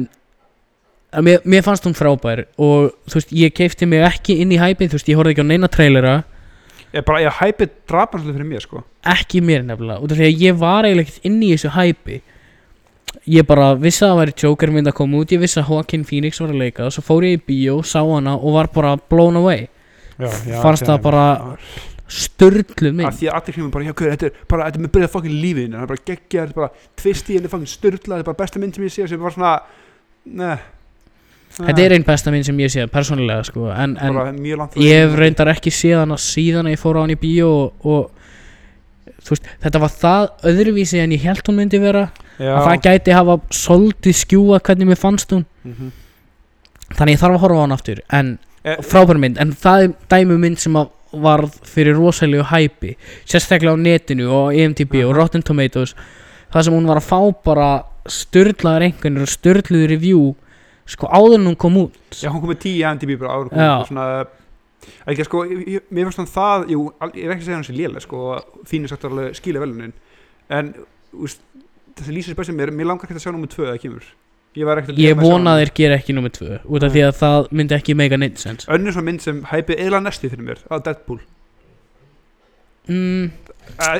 [SPEAKER 1] að mér, mér fannst hún frábær og þú veist, ég keipti mig ekki inn í hæpið, þú veist, ég horfði ekki á neina trailera
[SPEAKER 2] Ég bara, ég hæpið drapan svolítið fyrir mér sko
[SPEAKER 1] ekki mér nefnilega, út af því að ég var eiginlega ekkert inn í þessu hæpi ég bara vissi að það væri Joker mynd að koma út ég vissi að Joaquin Phoenix var að leika og svo fór ég í bíó, sá hana og var bara blown away, Fannst það bara- störnlu
[SPEAKER 2] Af
[SPEAKER 1] mynd
[SPEAKER 2] því að allir hljóðum bara, já, hver, þetta er bara, þetta er með byrjað fokkin lífiðin Það er bara geggja, þetta er bara tvist í henni fokkin styrla Þetta er bara besta mynd sem ég sé sem var svona, ne
[SPEAKER 1] þetta er einn besta mynd sem ég sé, persónulega sko, en, en
[SPEAKER 2] bara mjög langt frá
[SPEAKER 1] ég hef
[SPEAKER 2] því.
[SPEAKER 1] reyndar ekki séð hana síðan að ég fór á hann í bíó og, og þú veist, þetta var það öðruvísi en ég held hún myndi vera
[SPEAKER 2] já.
[SPEAKER 1] að það gæti hafa soldið skjúa hvernig mér fannst hún
[SPEAKER 2] Mhm.
[SPEAKER 1] þannig ég þarf að horfa á hann aftur en
[SPEAKER 2] Eh,
[SPEAKER 1] frábær mynd, en það er dæmi um mynd sem að varð fyrir rosalegu hæpi sérstaklega á netinu og E IMDb og Rotten Tomatoes það sem hún var að fá bara styrlaður einhvernir og styrluður review sko áður en hún kom út
[SPEAKER 2] Já, hún kom með 10 MDB bara ára
[SPEAKER 1] Já.
[SPEAKER 2] komið svona Ekki, sko, ég, ég- mér finnst þannig það, jú, al- ég er ekki að segja hann sér lélega, sko, þínu sagt alveg skilja velunin, en, úst, þessi lýsir spesir mér, mér langar ekkert að sjá númur 2 að það kemur. Ég var ekkert að
[SPEAKER 1] Ég
[SPEAKER 2] gleyma að sjá
[SPEAKER 1] vona
[SPEAKER 2] hana.
[SPEAKER 1] að þeir gera ekki nummið tvö út af
[SPEAKER 2] Nei.
[SPEAKER 1] því að það myndi ekki meika neitt sens
[SPEAKER 2] Önnur svona mynd sem hæpið eðla næsti fyrir mér, að Deadpool.
[SPEAKER 1] mm,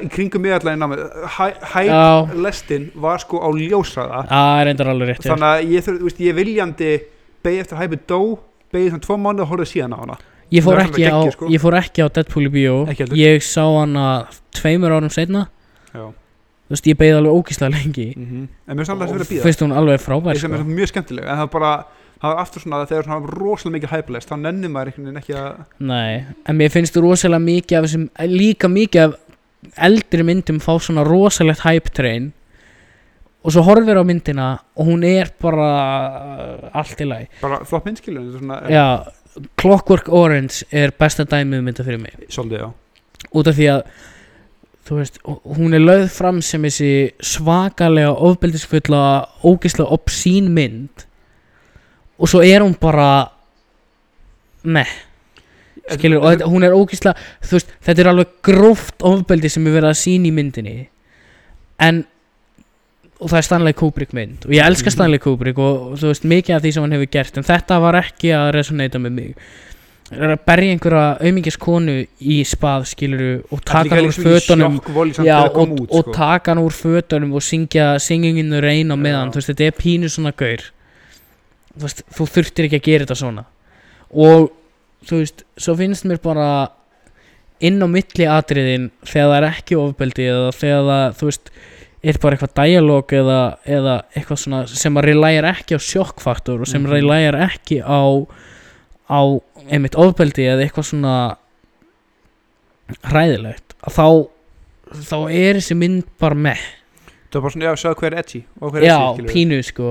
[SPEAKER 2] Í kringum mig allan í námið, hæp
[SPEAKER 1] Já,
[SPEAKER 2] lestin var sko á ljósraða,
[SPEAKER 1] það er reyndar alveg rétt hjá þér.
[SPEAKER 2] þannig að ég þurf, úst, ég viljandi beigð eftir að hæpið dó, beigð þannig tvo mánuði og horfði síðan á hana.
[SPEAKER 1] ég fór,
[SPEAKER 2] það er
[SPEAKER 1] ekki
[SPEAKER 2] alveg
[SPEAKER 1] á,
[SPEAKER 2] geggjur, sko.
[SPEAKER 1] ég fór ekki á Deadpool í bíó
[SPEAKER 2] Ekki heldur.
[SPEAKER 1] Ég sá hana tveimur árum setna
[SPEAKER 2] Já.
[SPEAKER 1] Þú veist, ég beigði alveg ógíslega lengi
[SPEAKER 2] Mhm. En mér finnst alltaf að vera að býða.
[SPEAKER 1] Fyrst hún alveg frábær
[SPEAKER 2] Ég sem
[SPEAKER 1] sko.
[SPEAKER 2] er mjög skemmtileg en það er bara, það er aftur svona þegar það er rosalega mikið hæplæst, þá nennir maður einhvern veginn ekki að
[SPEAKER 1] Nei, en mér finnst rosalega mikið af þessum Líka mikið af eldri myndum fá svona rosalegt hype train Og svo horfir á myndina og hún er bara uh, allt í lagi
[SPEAKER 2] bara flott myndskilur, þetta er svona
[SPEAKER 1] Já, Clockwork Orange er besta dæmið mynda fyrir mig
[SPEAKER 2] svolítið, já.
[SPEAKER 1] út af því að þú veist, hún er lögð fram sem þessi svakalega ofbeldisfulla, ógislega obscene mynd og svo er hún bara meh, skilur og þetta, hún er ógislega, þú veist, þetta er alveg gróft ofbeldi sem er verið að sína í myndinni en og það er Stanley Kubrick mynd og ég elska
[SPEAKER 2] Mhm.
[SPEAKER 1] Stanley Kubrick og, þú veist, mikið af því sem hann hefur gert en þetta var ekki að resonata með mig er að berja einhverja aumingiskonu í spað skiluru og taka hann úr fötunum
[SPEAKER 2] sjokkvóli samt
[SPEAKER 1] já,
[SPEAKER 2] þegar það
[SPEAKER 1] og,
[SPEAKER 2] kom út
[SPEAKER 1] og
[SPEAKER 2] sko.
[SPEAKER 1] taka hann úr fötunum og syngja synginginu reyn á
[SPEAKER 2] Já.
[SPEAKER 1] meðan þú veist, þetta er pínu svona gaur þú, veist, þú þurftir ekki að gera þetta svona og þú veist, svo finnst mér bara inn á milli atriðin þegar það er ekki ofbeldi eða þegar það, þú veist, er bara eitthvað dialog eða, eða eitthvað svona sem að relægir ekki á sjokkfaktor og sem
[SPEAKER 2] Mhm.
[SPEAKER 1] mm ekki á á einmitt ofbeldi eða eitthvað svona hræðilegt að þá þá er þessi mynd bara með
[SPEAKER 2] það var bara svona, já, sjá hver er edgy og hver er
[SPEAKER 1] já,
[SPEAKER 2] edgy, skilur við.
[SPEAKER 1] pínu sko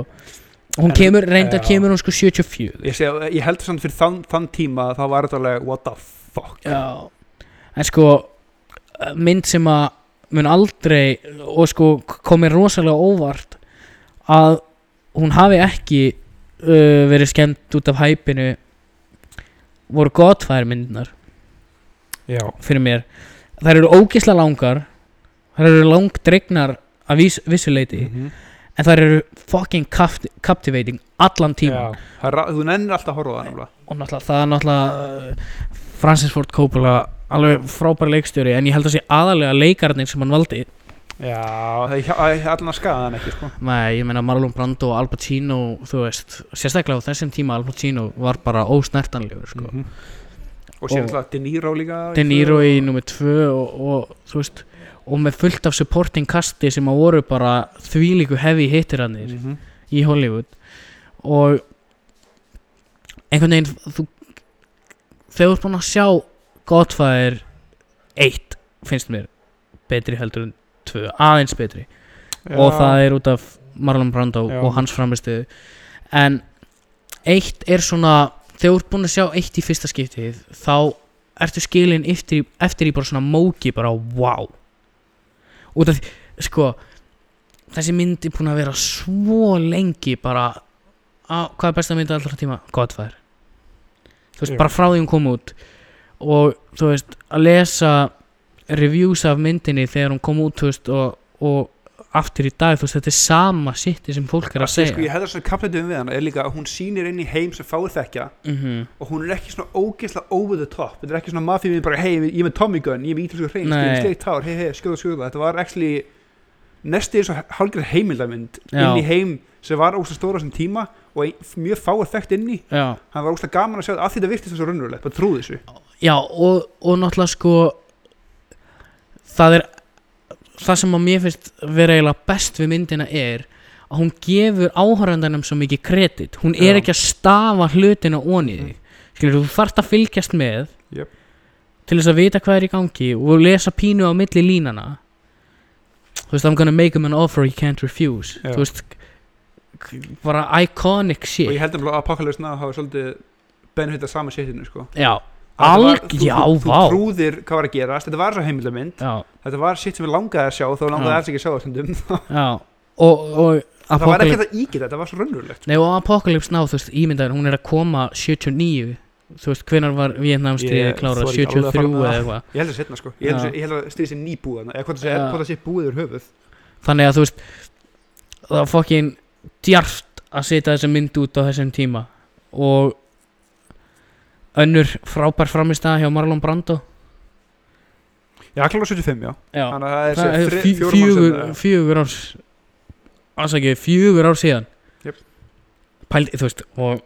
[SPEAKER 1] hún
[SPEAKER 2] En-
[SPEAKER 1] kemur, reynda
[SPEAKER 2] já.
[SPEAKER 1] kemur hún sko 74
[SPEAKER 2] ég, seg, ég held samt fyrir þann, þann tíma þá var þetta alveg, what the fuck
[SPEAKER 1] Já, en sko mynd sem að mun aldrei og sko komið rosalega óvart að hún hafi ekki uh, verið skemmt út af hæpinu voru gottfæðir myndinar
[SPEAKER 2] já,
[SPEAKER 1] fyrir mér þær eru ógisla langar þær eru langdregnar að vís, vissuleiti
[SPEAKER 2] Mhm.
[SPEAKER 1] en þær eru fucking capt captivating allan tíma
[SPEAKER 2] Já. Það er ra- þú nennir alltaf að horfa á það náttúrulega.
[SPEAKER 1] og náttúrulega það er náttúrulega uh, Francis Ford Coppola alveg frábær leikstjóri en ég held að sé aðalega leikarnir sem hann valdi
[SPEAKER 2] já, það er hjá- það er allan að skaða hann ekki sko.
[SPEAKER 1] Nei, ég meina Marlon Brando og Al Pacino þú veist, sérstaklega á þessum tíma Al Pacino var bara ósnertanlegur sko.
[SPEAKER 2] Mhm. og síðan
[SPEAKER 1] Og-
[SPEAKER 2] alltaf De Niro líka
[SPEAKER 1] De Niro í nummer 2 og, og þú veist og með fullt af supporting kasti sem að voru bara þvílíku hefi hittirannir
[SPEAKER 2] Mhm.
[SPEAKER 1] í Hollywood og einhvern veginn þú, þegar þú ert búin að sjá Godfather 1 finnst mér betri heldur en 2, aðeins betri og
[SPEAKER 2] Já.
[SPEAKER 1] það er út af Marlon Brando
[SPEAKER 2] Já.
[SPEAKER 1] og hans framistuð en eitt er svona þegar þú ert búin að sjá eitt í fyrsta skiptið þá ertu skilin eftir, í- eftir í bara svona móki bara wow út af því sko þessi mynd er búin að vera svo lengi bara á, hvað er besta mynd allra tíma? Godfather þú veist,
[SPEAKER 2] Já.
[SPEAKER 1] bara frá því hún kom út og þú veist, að lesa reviews af myndinni þegar hún kom út þú veist, og, og aftur í dag þú veist þetta er sama sitti sem fólk er að
[SPEAKER 2] Ég,
[SPEAKER 1] segja
[SPEAKER 2] sko, ég hefði svona kapplendum við hana er líka að hún sýnir inn í heim sem fáir þekkja
[SPEAKER 1] Mhm.
[SPEAKER 2] og hún er ekki svona ógeðslega over the top þetta er ekki svona mafíum við bara hei, ég er með Tommy Gun ég er með ítalsku hrein,
[SPEAKER 1] Nei.
[SPEAKER 2] ég er sleikt hár hei, hei, skjóða, skjóða þetta var actually næstu eins og hálfgerð heimildamind
[SPEAKER 1] Já.
[SPEAKER 2] inn í heim sem var ógeðslega stóra sem tíma og ein, mjög fáið þekkt inn í
[SPEAKER 1] já.
[SPEAKER 2] hann var ógeðslega gaman að sjá þetta af því þetta virtist þessu raunverulegt bara trúði þessu
[SPEAKER 1] já og, og náttúrulega sko það er það sem að mér finnst vera eiginlega best við myndina er að hún gefur áhörðanum svo mikið kredit hún er
[SPEAKER 2] Já. Mm.
[SPEAKER 1] ekki að stafa hlutina onið þig skilur þú þarft að fylgjast með
[SPEAKER 2] Jöp.
[SPEAKER 1] til þess að vita hvað er í gangi og lesa pínu á milli línana þú veist I'm gonna make him an offer he can't refuse
[SPEAKER 2] Já.
[SPEAKER 1] þú veist k- bara iconic
[SPEAKER 2] og
[SPEAKER 1] shit
[SPEAKER 2] ég held að Apocalypse Now hafa svolítið benefitað sama sétinu sko.
[SPEAKER 1] já,
[SPEAKER 2] Þetta var-
[SPEAKER 1] Alg-
[SPEAKER 2] þú- þú-
[SPEAKER 1] já,
[SPEAKER 2] þú
[SPEAKER 1] vá.
[SPEAKER 2] trúðir hvað var að gerast, þetta var svo heimildamind
[SPEAKER 1] já,
[SPEAKER 2] þetta var sitt sem við langaði að sjá þó langaði
[SPEAKER 1] Já.
[SPEAKER 2] alls ekki að sjá það stundum
[SPEAKER 1] já og, og
[SPEAKER 2] það var
[SPEAKER 1] Apocalypse-
[SPEAKER 2] ekki að ígita, þetta var svo raunverulegt
[SPEAKER 1] Nei og Apocalypse Now, þú veist, ímyndaður, hún er að koma 79, þú veist, hvenær var Vietnamstriðið
[SPEAKER 2] Ég
[SPEAKER 1] klárað,
[SPEAKER 2] þori ekki alveg að
[SPEAKER 1] 73
[SPEAKER 2] fara með
[SPEAKER 1] eða
[SPEAKER 2] það.
[SPEAKER 1] eitthvað
[SPEAKER 2] ég held að setna sko, ég held,
[SPEAKER 1] Já.
[SPEAKER 2] að- ég held að stríði sér nýbúðan eða hvort það sé,
[SPEAKER 1] Já.
[SPEAKER 2] hvort það sé búið úr höfuð
[SPEAKER 1] Þannig að þú veist, það var fokkin djart að setja þessa mynd út á þessum tíma og önnur frábær framistæða hjá Marlon Brando
[SPEAKER 2] já, klára 75, já,
[SPEAKER 1] Já,
[SPEAKER 2] þannig að það er
[SPEAKER 1] það
[SPEAKER 2] sér
[SPEAKER 1] er
[SPEAKER 2] þri-
[SPEAKER 1] fjö-
[SPEAKER 2] fjórum hérna. árum
[SPEAKER 1] fjögur,
[SPEAKER 2] síðan,
[SPEAKER 1] fjögur árs aðsakið, fjögur ár síðan
[SPEAKER 2] Jöp.
[SPEAKER 1] pældi, þú veist og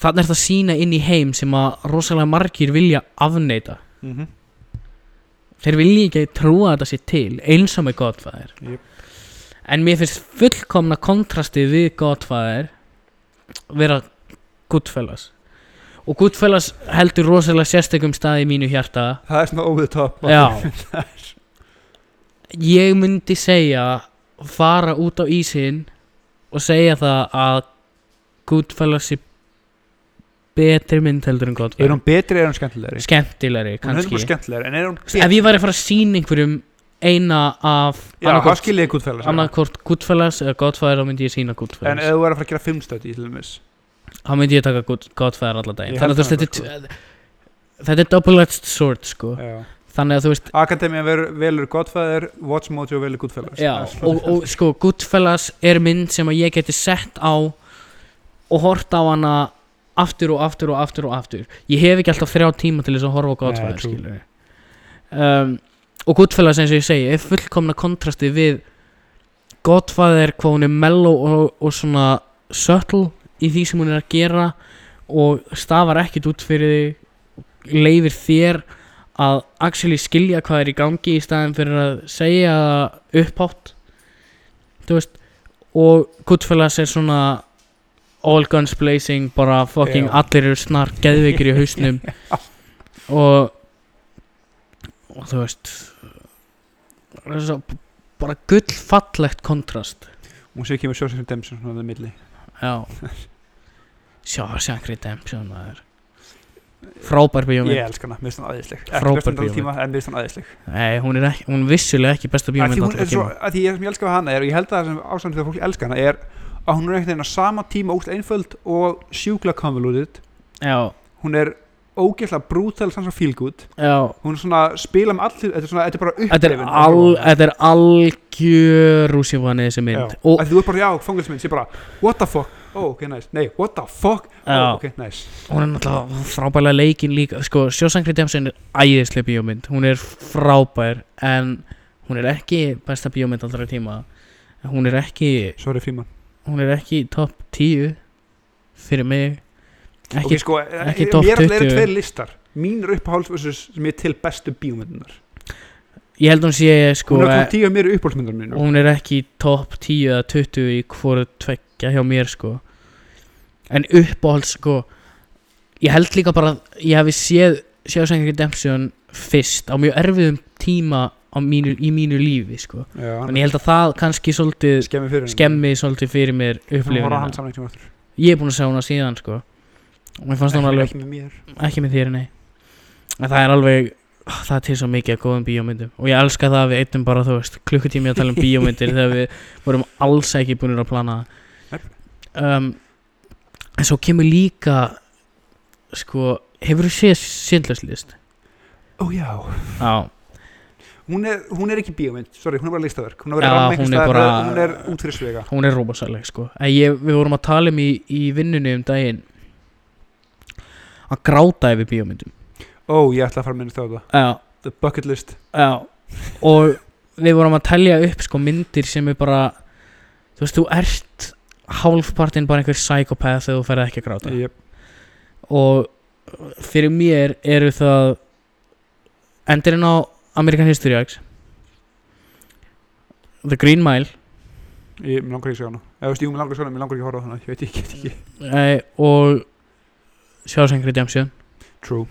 [SPEAKER 1] þannig er þetta sína inn í heim sem að rosalega margir vilja afneita
[SPEAKER 2] eða- Mhm.
[SPEAKER 1] þeir vilja ekki trúa að þetta sér til eins og með Godfather
[SPEAKER 2] Jöp.
[SPEAKER 1] en mér finnst fullkomna kontrastið við Godfather vera Goodfellas og Goodfellas heldur rosalega sérstökum stað í mínu hjarta
[SPEAKER 2] það er svona over the top
[SPEAKER 1] Já Ég myndi segja fara út á ísinn og segja það að Goodfellas sé betri mynd heldur en
[SPEAKER 2] er
[SPEAKER 1] Godfellas
[SPEAKER 2] hún betri, er hún skemmtilegri
[SPEAKER 1] skemmtilegri
[SPEAKER 2] hún er
[SPEAKER 1] kannski
[SPEAKER 2] hún skemmtilegri, en er hún
[SPEAKER 1] ef ég væri að fara að sína einhverjum eina af
[SPEAKER 2] já,
[SPEAKER 1] annaðhvort-
[SPEAKER 2] það skiljiði Goodfellas já.
[SPEAKER 1] annaðhvort Goodfellas eða Godfather þá myndi ég sína
[SPEAKER 2] en
[SPEAKER 1] Goodfellas
[SPEAKER 2] ef þú er að fara að gera filmstöti í til dæmis
[SPEAKER 1] þá myndi ég taka Good- Godfather allan daginn
[SPEAKER 2] Ég
[SPEAKER 1] þannig að þú veist
[SPEAKER 2] held
[SPEAKER 1] þetta er t- þetta er double-edged sword sko
[SPEAKER 2] já.
[SPEAKER 1] þannig að þú veist
[SPEAKER 2] Akademían ver- velur Godfather Watch Mojo velur Goodfellas
[SPEAKER 1] Já,
[SPEAKER 2] Það er
[SPEAKER 1] og, og sko, Goodfellas er mynd sem að ég geti sett á og hort á hana aftur og aftur og aftur og aftur ég hef ekki alltaf þrjá tíma til þess að horfa á
[SPEAKER 2] Nei,
[SPEAKER 1] Godfellas
[SPEAKER 2] true.
[SPEAKER 1] skilur um, og Goodfellas eins og ég segi er fullkomna kontrasti við Godfather hvað hún er mellow og, og svona subtle í því sem hún er að gera og stafar ekkit út fyrir þig leifir þér að actually skilja hvað er í gangi í staðin fyrir að segja það upphátt þú veist og Goodfellas er svona all guns blazing bara fucking
[SPEAKER 2] Já.
[SPEAKER 1] allir eru snar geðveikir í hausnum og og þú veist það er svo bara gullfallegt kontrast
[SPEAKER 2] hún sé ekki með Sjósef Dempsey svona það milli
[SPEAKER 1] já sjá, Sjank Redemption maður. frábær bíómynd
[SPEAKER 2] ég elsk hana, mér finnst hann aðeinsleg
[SPEAKER 1] Frábær
[SPEAKER 2] ekki bestan
[SPEAKER 1] bíómynd.
[SPEAKER 2] allra tíma, en mér finnst hann aðeinsleg
[SPEAKER 1] Nei, hún er, ekki, hún er vissulega ekki besta
[SPEAKER 2] að því,
[SPEAKER 1] bíómynd
[SPEAKER 2] hún
[SPEAKER 1] allra
[SPEAKER 2] er svo,
[SPEAKER 1] tíma
[SPEAKER 2] að því ég sem ég elska við hana er og ég held að það sem ástæðan þegar fólk elska hana er að hún er einhvern veginn á sama tíma ógst einföld og sjúkla convoluted
[SPEAKER 1] Já,
[SPEAKER 2] hún er ógeðslega brutal sanns og feel good
[SPEAKER 1] já
[SPEAKER 2] hún er svona spila um allir þetta er, svona, þetta er bara
[SPEAKER 1] Þetta er,
[SPEAKER 2] upplifin
[SPEAKER 1] al, þetta er algjör rúsifani þessi mynd
[SPEAKER 2] og
[SPEAKER 1] og
[SPEAKER 2] að því þú er bara já, fangilsmynd sé bara what the fuck, oh ok nice nei, what the fuck,
[SPEAKER 1] Já.
[SPEAKER 2] oh, ok nice
[SPEAKER 1] hún er náttúrulega frábælega leikin líka sko, Sjósang Redemption er æðislega bíómynd hún er frábær en hún er ekki besta bíómynd allra tíma hún er ekki
[SPEAKER 2] sorry Fríman
[SPEAKER 1] hún er ekki top 10 fyrir mig
[SPEAKER 2] ok
[SPEAKER 1] ekki,
[SPEAKER 2] sko,
[SPEAKER 1] ekki
[SPEAKER 2] ekki
[SPEAKER 1] topp
[SPEAKER 2] mér alltaf eru
[SPEAKER 1] 20.
[SPEAKER 2] tveir listar mínur uppáhalds versus sem er til bestu bíómyndunar
[SPEAKER 1] ég held hún sé sko
[SPEAKER 2] hún er
[SPEAKER 1] eh,
[SPEAKER 2] komið tíu að mér uppáhaldsmyndar mínu
[SPEAKER 1] hún er ekki top 10 eða 20 í hvora tveggja hjá mér sko en uppáhald sko ég held líka bara að ég hefði séð Sjósang Redemption fyrst á mjög erfiðum tíma á mínu, í mínu lífi sko
[SPEAKER 2] já, hann
[SPEAKER 1] en ég held að það kannski svolítið
[SPEAKER 2] skemmi fyrir henni.
[SPEAKER 1] skemmi svolítið fyrir mér
[SPEAKER 2] Hún var að
[SPEAKER 1] upplifin
[SPEAKER 2] hann samleikin aftur
[SPEAKER 1] ég er búin að sjá hana síðan sko og mér fannst hún
[SPEAKER 2] ekki,
[SPEAKER 1] alveg
[SPEAKER 2] ekki með mér
[SPEAKER 1] ekki með þér, nei en það er alveg, ah, það er til svo mikið að góðum bíómyndum og ég elska það að við eittum bara, þú veist, klukkutími að tala um bíómyndir þegar við vorum alls ekki búin að plana það um, en svo kemur líka sko, hefur þú séð sindlöslist?
[SPEAKER 2] Ó já,
[SPEAKER 1] Já,
[SPEAKER 2] hún er, hún er ekki bíómynd, sorry, hún er bara listaverk hún
[SPEAKER 1] Já,
[SPEAKER 2] er, bara
[SPEAKER 1] hún er
[SPEAKER 2] rammeinkastaðar
[SPEAKER 1] bara-
[SPEAKER 2] eða hún er út fyrir svega
[SPEAKER 1] hún er rosaleg sko En ég, við vorum að tala um í, í vinnunni um daginn að gráta yfir bíómyndum
[SPEAKER 2] ó, ég ætla að fara minnist á þetta
[SPEAKER 1] já,
[SPEAKER 2] the bucket list
[SPEAKER 1] já og við vorum að telja upp sko myndir sem er bara þú veist, þú ert hálfpartinn bara einhver psychopath þegar þú ferð ekki að gráta
[SPEAKER 2] yep.
[SPEAKER 1] og fyrir mér eru það endurinn á American History X The Green Mile
[SPEAKER 2] ég mér langar ekki að sjá hana eða veist, jú, mér langar að sjá hana, mér langar ekki að horfa á hana ég veit ekki, ég get ekki
[SPEAKER 1] eh, og Shawshank Redemption
[SPEAKER 2] true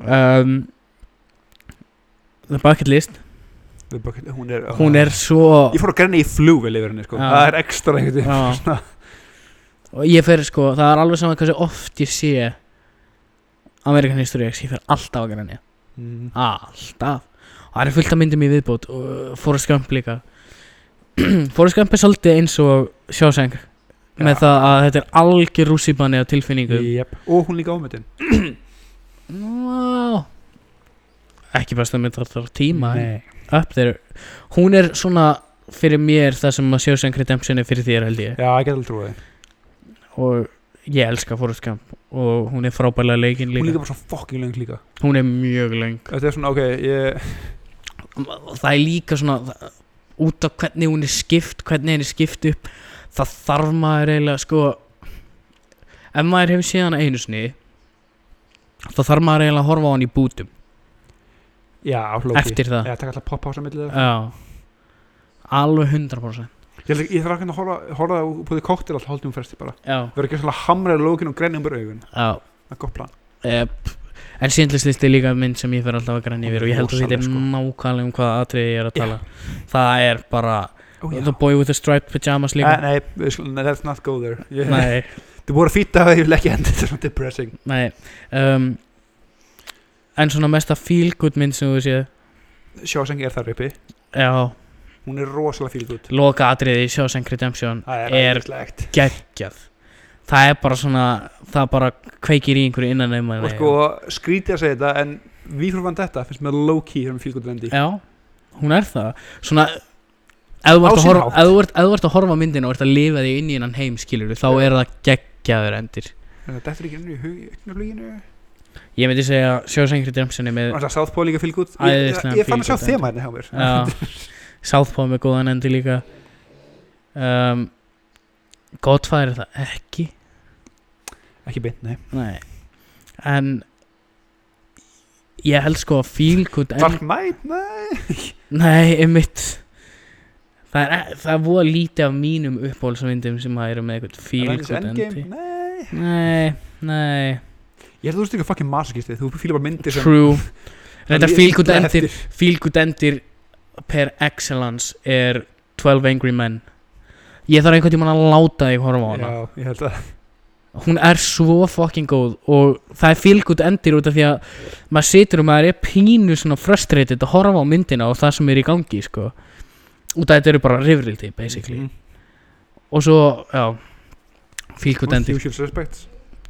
[SPEAKER 1] um, The Bucket List
[SPEAKER 2] the bucket, hún er
[SPEAKER 1] hún er svo
[SPEAKER 2] Ah. ég fór að grenna í flugvel yfir henni sko.
[SPEAKER 1] Já.
[SPEAKER 2] það er ekstra eitthvað
[SPEAKER 1] Já.
[SPEAKER 2] svona.
[SPEAKER 1] og ég fer sko, það er alveg saman hversu oft ég sé American History X, ég fer alltaf að grænja
[SPEAKER 2] Mm.
[SPEAKER 1] alltaf og það er fullt af myndum í viðbót og uh, Forrest Gump líka Forrest Gump er svolítið eins og Shawshank
[SPEAKER 2] Já.
[SPEAKER 1] með það að þetta er algjör rússipanni af tilfinningum
[SPEAKER 2] Jep. og hún líka ámyndin
[SPEAKER 1] Ná, ekki besta mynd þar tíma en
[SPEAKER 2] Nei.
[SPEAKER 1] up there hún er svona fyrir mér það sem að Shawshank Redemption er fyrir þér held ég
[SPEAKER 2] já, ég get alveg trúið
[SPEAKER 1] og ég elska Forrest Gump og hún er frábælega leikin
[SPEAKER 2] hún er
[SPEAKER 1] líka
[SPEAKER 2] líka bara svo fucking löng líka
[SPEAKER 1] hún er mjög löng
[SPEAKER 2] þetta er svona, ok, ég
[SPEAKER 1] og það er líka svona það- út af hvernig hún er skipt hvernig henni er skipt upp það þarf maður eiginlega sko ef maður hefur séð hana einu sinni þá þarf maður eiginlega að horfa á hann í bútum
[SPEAKER 2] já, hlóki
[SPEAKER 1] eftir það
[SPEAKER 2] ég takk alltaf popphása millið
[SPEAKER 1] já alveg 100%
[SPEAKER 2] Ég, held ekki- ég þarf ekki að horfa, horfa á búið koktel alltaf hálftíma fresti bara.
[SPEAKER 1] já,
[SPEAKER 2] Verður ekki svona hamra í lókin og grenja um bara augun.
[SPEAKER 1] já
[SPEAKER 2] Það er gott plan.
[SPEAKER 1] Yep. En síndlististi er líka mynd sem ég fer alltaf að græna yfir og ég held að þetta er
[SPEAKER 2] Rosaleg, sko.
[SPEAKER 1] nákvæmlega um hvaða atriði ég er að tala Það er bara
[SPEAKER 2] Ó, já.
[SPEAKER 1] The Boy with the Striped Pyjamas líka
[SPEAKER 2] Eh, nei, við skulum- nei, let's not go there. Ég,
[SPEAKER 1] Nei,
[SPEAKER 2] Þið voru fýtt að ég vil ekki enda þetta er svona depressing.
[SPEAKER 1] nei um, En svona mesta feel good mynd sem þú séð
[SPEAKER 2] Sjóseng er þar uppi.
[SPEAKER 1] Já,
[SPEAKER 2] Hún er rosalega fíl gutt.
[SPEAKER 1] loka atriði í Shawshank Redemption
[SPEAKER 2] Það
[SPEAKER 1] Er-
[SPEAKER 2] er æðislegt.
[SPEAKER 1] geggjað Það er bara svona, það bara kveikir í einhverju innan um
[SPEAKER 2] Og sko, skrítið að segja þetta, en við fyrir vann þetta finnst mér low-key hérna fíl gutt vendi.
[SPEAKER 1] Já, hún er það Svona Ef þú
[SPEAKER 2] Á
[SPEAKER 1] ert að
[SPEAKER 2] sinn
[SPEAKER 1] horfa-
[SPEAKER 2] hátt.
[SPEAKER 1] ef þú ert- ef þú ert að horfa á myndina og ert að lifa þig inn í hennan heim skilur þá er það geggjaður endir
[SPEAKER 2] Þetta er ekki henni í hug- í augnablikinu.
[SPEAKER 1] Ég myndi segja Sjósengri Dempseni með
[SPEAKER 2] Og það South Pole líka fíl gutt. Ég,
[SPEAKER 1] Æðislegan
[SPEAKER 2] ég, ég fann að
[SPEAKER 1] feel
[SPEAKER 2] sjá
[SPEAKER 1] good
[SPEAKER 2] þema hérna hjá mér.
[SPEAKER 1] já, Southpaw með góðan endi líka um, Godfather er það ekki
[SPEAKER 2] Ekki beint, nei.
[SPEAKER 1] Nei En Ég held sko að feel good end
[SPEAKER 2] Dark Knight, nei.
[SPEAKER 1] Nei, einmitt Það er, e- það er voða lítið af mínum uppbólsmyndum sem það eru með eitthvað feel
[SPEAKER 2] Avengers
[SPEAKER 1] good endi
[SPEAKER 2] Endgame, nei.
[SPEAKER 1] Nei, nei
[SPEAKER 2] Ég held að þú ert ekki fucking masokistið, þú fýlar bara myndir sem
[SPEAKER 1] True Þetta
[SPEAKER 2] Ég-
[SPEAKER 1] feel good
[SPEAKER 2] illa
[SPEAKER 1] endir
[SPEAKER 2] eftir.
[SPEAKER 1] Feel good endir per excellence er 12 Angry Men Ég þarf einhvern tímann að láta þig horfa á hana
[SPEAKER 2] Já, ég held að
[SPEAKER 1] Hún er svo fucking góð og það er feel good endir út af því að maður situr og maður er pínu svona frustrated að horfa á myndina og það sem er í gangi sko út af þetta eru bara rifrildi basically
[SPEAKER 2] Mm.
[SPEAKER 1] og svo, já feel good
[SPEAKER 2] Og
[SPEAKER 1] endir
[SPEAKER 2] Usual Suspects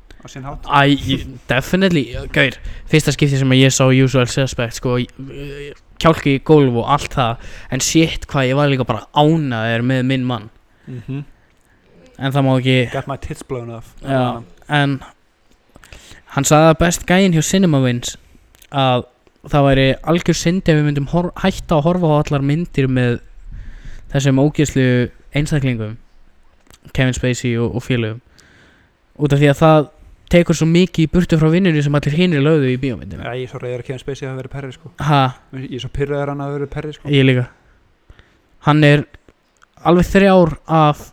[SPEAKER 2] á sinn hátt
[SPEAKER 1] Æ, ég- definitely, gauð Fyrsta skipti sem ég sá Usual Suspect sko, ég- ég- kjálki í gólf og allt það En shit hvað ég var líka bara ánaður með minn mann En það má ekki,
[SPEAKER 2] Got my tits blown off
[SPEAKER 1] Mhm. Já. en Hann sagði að best gæinn hjá Cinemawins Að það væri algjör synd ef við myndum hor- hætta að horfa á allar myndir með Þessum ógjörslu einstaklingum Kevin Spacey og, og félögum Út af því að það tekur svo mikið í burtu frá vinnunni sem allir hinir lögðu í bíómyndinu
[SPEAKER 2] Já, ég er svo reyður að Kevin Spacey hafa verið perri sko
[SPEAKER 1] Ha,
[SPEAKER 2] Ég er svo pyrraður hann að hafa verið perri sko
[SPEAKER 1] ég líka Hann er alveg þrjár af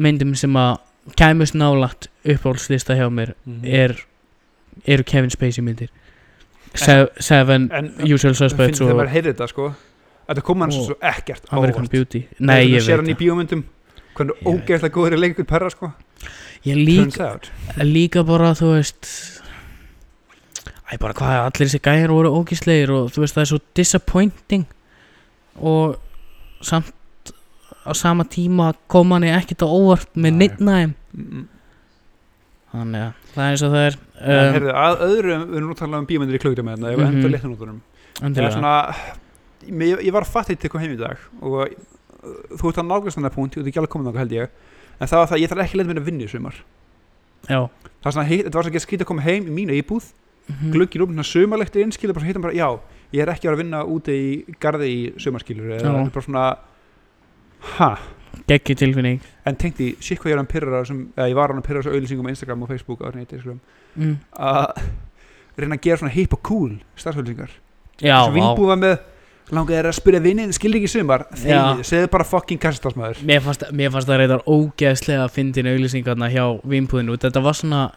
[SPEAKER 1] myndum sem að kæmust nálægt uppáhaldslista hjá mér
[SPEAKER 2] Mhm.
[SPEAKER 1] er, eru Kevin Spacey myndir Se Seven,
[SPEAKER 2] En
[SPEAKER 1] Usual
[SPEAKER 2] finnst
[SPEAKER 1] Suspects
[SPEAKER 2] þegar
[SPEAKER 1] og
[SPEAKER 2] maður heyrði þetta sko Þetta kom hann
[SPEAKER 1] Og-
[SPEAKER 2] svo ekkert á
[SPEAKER 1] American
[SPEAKER 2] óvart.
[SPEAKER 1] Beauty Nei,
[SPEAKER 2] Þegar
[SPEAKER 1] ég
[SPEAKER 2] maður sér
[SPEAKER 1] veit
[SPEAKER 2] hann í
[SPEAKER 1] það
[SPEAKER 2] bíómyndum Hvernig
[SPEAKER 1] Ég veit
[SPEAKER 2] ógeðslega góður er leikur perra sko
[SPEAKER 1] Ég
[SPEAKER 2] Turns
[SPEAKER 1] líka,
[SPEAKER 2] out
[SPEAKER 1] líka bara, þú veist Æ, bara hvað, allir þessi gæjar voru ógíslegir og þú veist, það er svo disappointing og samt á sama tíma kom hann ekkert á óvart með
[SPEAKER 2] Nei.
[SPEAKER 1] neittnæm
[SPEAKER 2] Mm,
[SPEAKER 1] Þannig að það er eins og það
[SPEAKER 2] En
[SPEAKER 1] er um,
[SPEAKER 2] heyrðu, að öðrum, við erum nú talað um bíómyndir í klugdum hérna, ef við
[SPEAKER 1] Mhm.
[SPEAKER 2] enda léttunóttunum Eða
[SPEAKER 1] endilega
[SPEAKER 2] svona, ég, ég var að fatta til kom heim í dag og uh, þú ert að nákvæmst þannig punkt, ég ert ekki alveg komin þangað held ég en það var það að ég þarf ekki leið mér að vinna í sumar
[SPEAKER 1] Já
[SPEAKER 2] það var svona, heit, þetta var svona ekki að skrýta að koma heim í mínu íbúð
[SPEAKER 1] Mhm.
[SPEAKER 2] gluggi rúm, svona sumarlegt er innskilur bara hittum bara, já, ég er ekki að vera að vinna úti í garði í sumarskilur eða
[SPEAKER 1] Já.
[SPEAKER 2] þetta er bara svona, ha
[SPEAKER 1] Geggjuð tilfinning
[SPEAKER 2] en tengt því, sík hvað ég er hann pyrrar sem, eða ég var hann pyrrar þessu auðlýsingum á Instagram og Facebook og neitt, Instagram,
[SPEAKER 1] mm.
[SPEAKER 2] að reyna að gera svona hip og cool starfsauðlýsingar
[SPEAKER 1] Já,
[SPEAKER 2] svo
[SPEAKER 1] vá
[SPEAKER 2] vinnbúið var með langaði þér að spyrja vinnin, skildi ekki sumar þegið, segðu bara fucking kassastarfsmæður
[SPEAKER 1] Mér fannst, mér fannst það reyndar ógeðslega að fyndin auglýsingarna hjá vimpúðinu Þetta var svona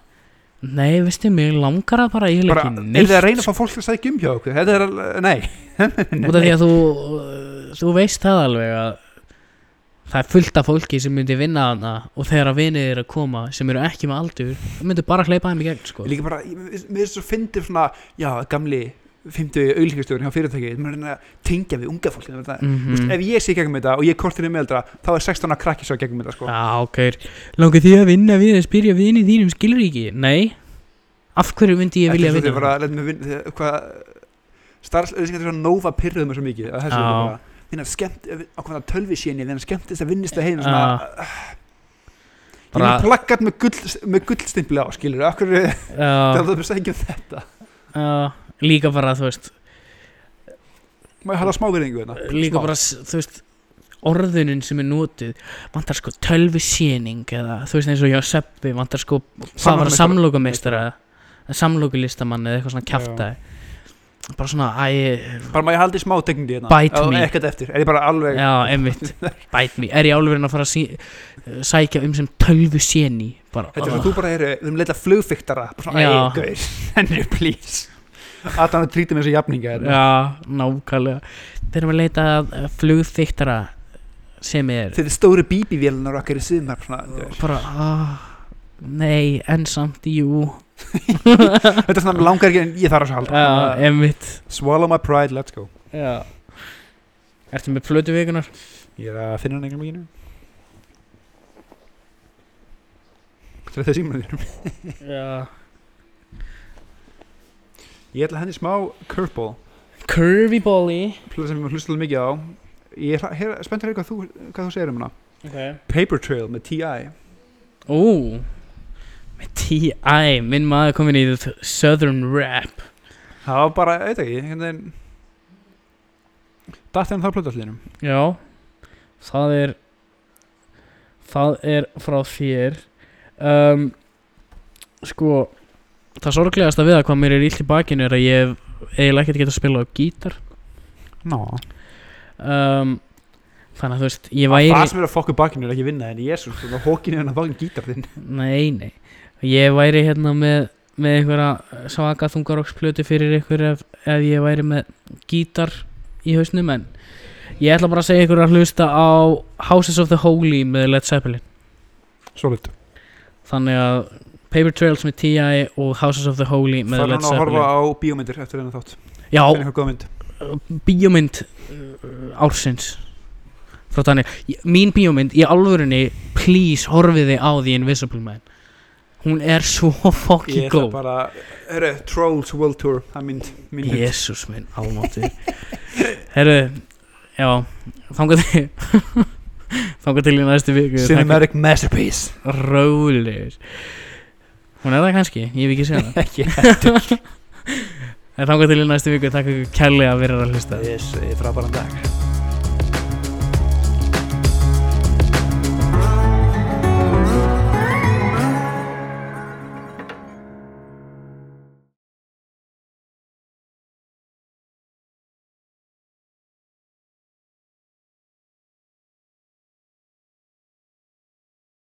[SPEAKER 1] Nei, veistu, mér langar það bara Ég vil
[SPEAKER 2] bara,
[SPEAKER 1] ekki
[SPEAKER 2] er
[SPEAKER 1] neitt
[SPEAKER 2] þið að reyna að fá fólk til að segja um hjá okkur þetta er, al- nei,
[SPEAKER 1] Út af því að þú uh, Þú veist það alveg að Það er fullt af fólki sem myndi vinna hana Og þegar að vinið er að koma Sem eru ekki með aldur Það myndi bara hleypa þeim í gegn sko.
[SPEAKER 2] ég líka bara ég- mér mér finnst svo fyndið svona, já, gamli 50 auðlýsingastjórin hjá fyrirtæki maður reyna að tengja við unga fólk mm -hmm.
[SPEAKER 1] mm
[SPEAKER 2] ef ég sé í gegnum þetta og ég kortir um eldra þá er 16 að krakki svo gegnum þetta sko.
[SPEAKER 1] Já, ok Langar því að vinna við að spyrja vinið þínum um skilríki? Nei Af hverju myndi ég vilja
[SPEAKER 2] Ekki svo
[SPEAKER 1] vinna?
[SPEAKER 2] þið bara, let mig vinna þið- hvað starfsauðlýsingar er svona nófa pyrruðum svo mikið að þessu
[SPEAKER 1] Já.
[SPEAKER 2] er bara þína skemmt á hvaða tölvisíni þína skemmtist að vinnist að heim
[SPEAKER 1] Já.
[SPEAKER 2] svona, Ég
[SPEAKER 1] Bara-
[SPEAKER 2] er plakkat með, gull, með gullstimpli á, skilur, akkur er
[SPEAKER 1] Já,
[SPEAKER 2] það að segja um þetta?
[SPEAKER 1] já, líka bara, þú veist
[SPEAKER 2] Má ég hala smáverðingu hérna?
[SPEAKER 1] líka bara, s- þú veist orðunin sem er notuð vantar sko tölvisýning eða þú veist eins og hjá Seppi vantar sko hvað var það samlokumeistar eða samlokulistamann eða eitthvað svona kjafta bara svona æ,
[SPEAKER 2] Bara má ég haldi smá tegndi hérna?
[SPEAKER 1] Bite
[SPEAKER 2] Já,
[SPEAKER 1] me.
[SPEAKER 2] Ekkert eftir, er ég bara alveg
[SPEAKER 1] já, einmitt bæt mér, er ég álverðin að fara að sí, sækja um sem tölvisýni bara,
[SPEAKER 2] Þetta er svona, þú bara eru, við erum leitað flugfiktara Bara svona,
[SPEAKER 1] Já.
[SPEAKER 2] ei, gauð, henni, please Adam að trýta mér svo jafninga hérna
[SPEAKER 1] já, nákvæmlega þeir eru að leita að eh, flugþyktara sem er
[SPEAKER 2] Þetta er stóri bíbívélunar okkar í síðum Svona, gaur.
[SPEAKER 1] bara, ah, nei en samt, jú
[SPEAKER 2] Þetta er svona langar ekki en ég þarf að halda
[SPEAKER 1] já, einmitt
[SPEAKER 2] Swallow my pride, let's go
[SPEAKER 1] Já Ertu með plötu vikunar?
[SPEAKER 2] Ég er að finna hann einhvern veginn hérna. Þetta er símanum þínum
[SPEAKER 1] Já
[SPEAKER 2] Ég ætla að henni smá curveball
[SPEAKER 1] Curvy Bolly
[SPEAKER 2] plöðu sem ég maður hlusta alveg mikið á ég er hra- heyra- spenntur að heyra hvað þú, hvað þú segir um hana
[SPEAKER 1] okay.
[SPEAKER 2] Paper Trail með T.I.
[SPEAKER 1] Ó Með T.I. Minn maður komin í the Southern Rap
[SPEAKER 2] það var bara, ég veit ekki einhvern veginn datt henni þá plöðu allir
[SPEAKER 1] Já Það er Það er frá þér um, Sko Það sorglegast að við að hvað mér er illt í bakinu er að ég hef eiginlega ekkert getað að spila á gítar
[SPEAKER 2] Ná,
[SPEAKER 1] um, Þannig að þú veist Ég væri
[SPEAKER 2] það sem er að fokka bakinu er ekki vinna en jésus, þú var hókinu henni að bakinu hérna gítar þinn
[SPEAKER 1] Nei, nei Ég væri hérna með, með einhverja svaka þungaroksplötu fyrir ykkur ef, ef ég væri með gítar í hausnum en ég ætla bara að segja ykkur að hlusta á Houses of the Holy með Led Zeppelin
[SPEAKER 2] solid,
[SPEAKER 1] Þannig að Paper Trails með T.I. og Houses of the Holy með
[SPEAKER 2] þarf hann
[SPEAKER 1] Led
[SPEAKER 2] að horfa
[SPEAKER 1] Zeppelin
[SPEAKER 2] á bíómyndir eftir henni þátt
[SPEAKER 1] Já,
[SPEAKER 2] finna eitthvað góða mynd
[SPEAKER 1] bíómynd uh, ársins frá þannig, Ég- mín bíómynd í alvörunni, please horfiði á The Invisible Man hún er svo
[SPEAKER 2] ég
[SPEAKER 1] fokki
[SPEAKER 2] ætla
[SPEAKER 1] góð
[SPEAKER 2] bara, herru, Trolls World Tour það er mynd, mynd, mynd.
[SPEAKER 1] Jésús minn, álmáttur Herru, já Þangað til Þangað til í næstu viku
[SPEAKER 2] Cinematic Masterpiece
[SPEAKER 1] Rólir Hún er það kannski, ég hef ekki séð það
[SPEAKER 2] ekki,
[SPEAKER 1] En þangað til í næstu viku Takk ekki kærlega að vera að hlusta
[SPEAKER 2] yes, frábæran dag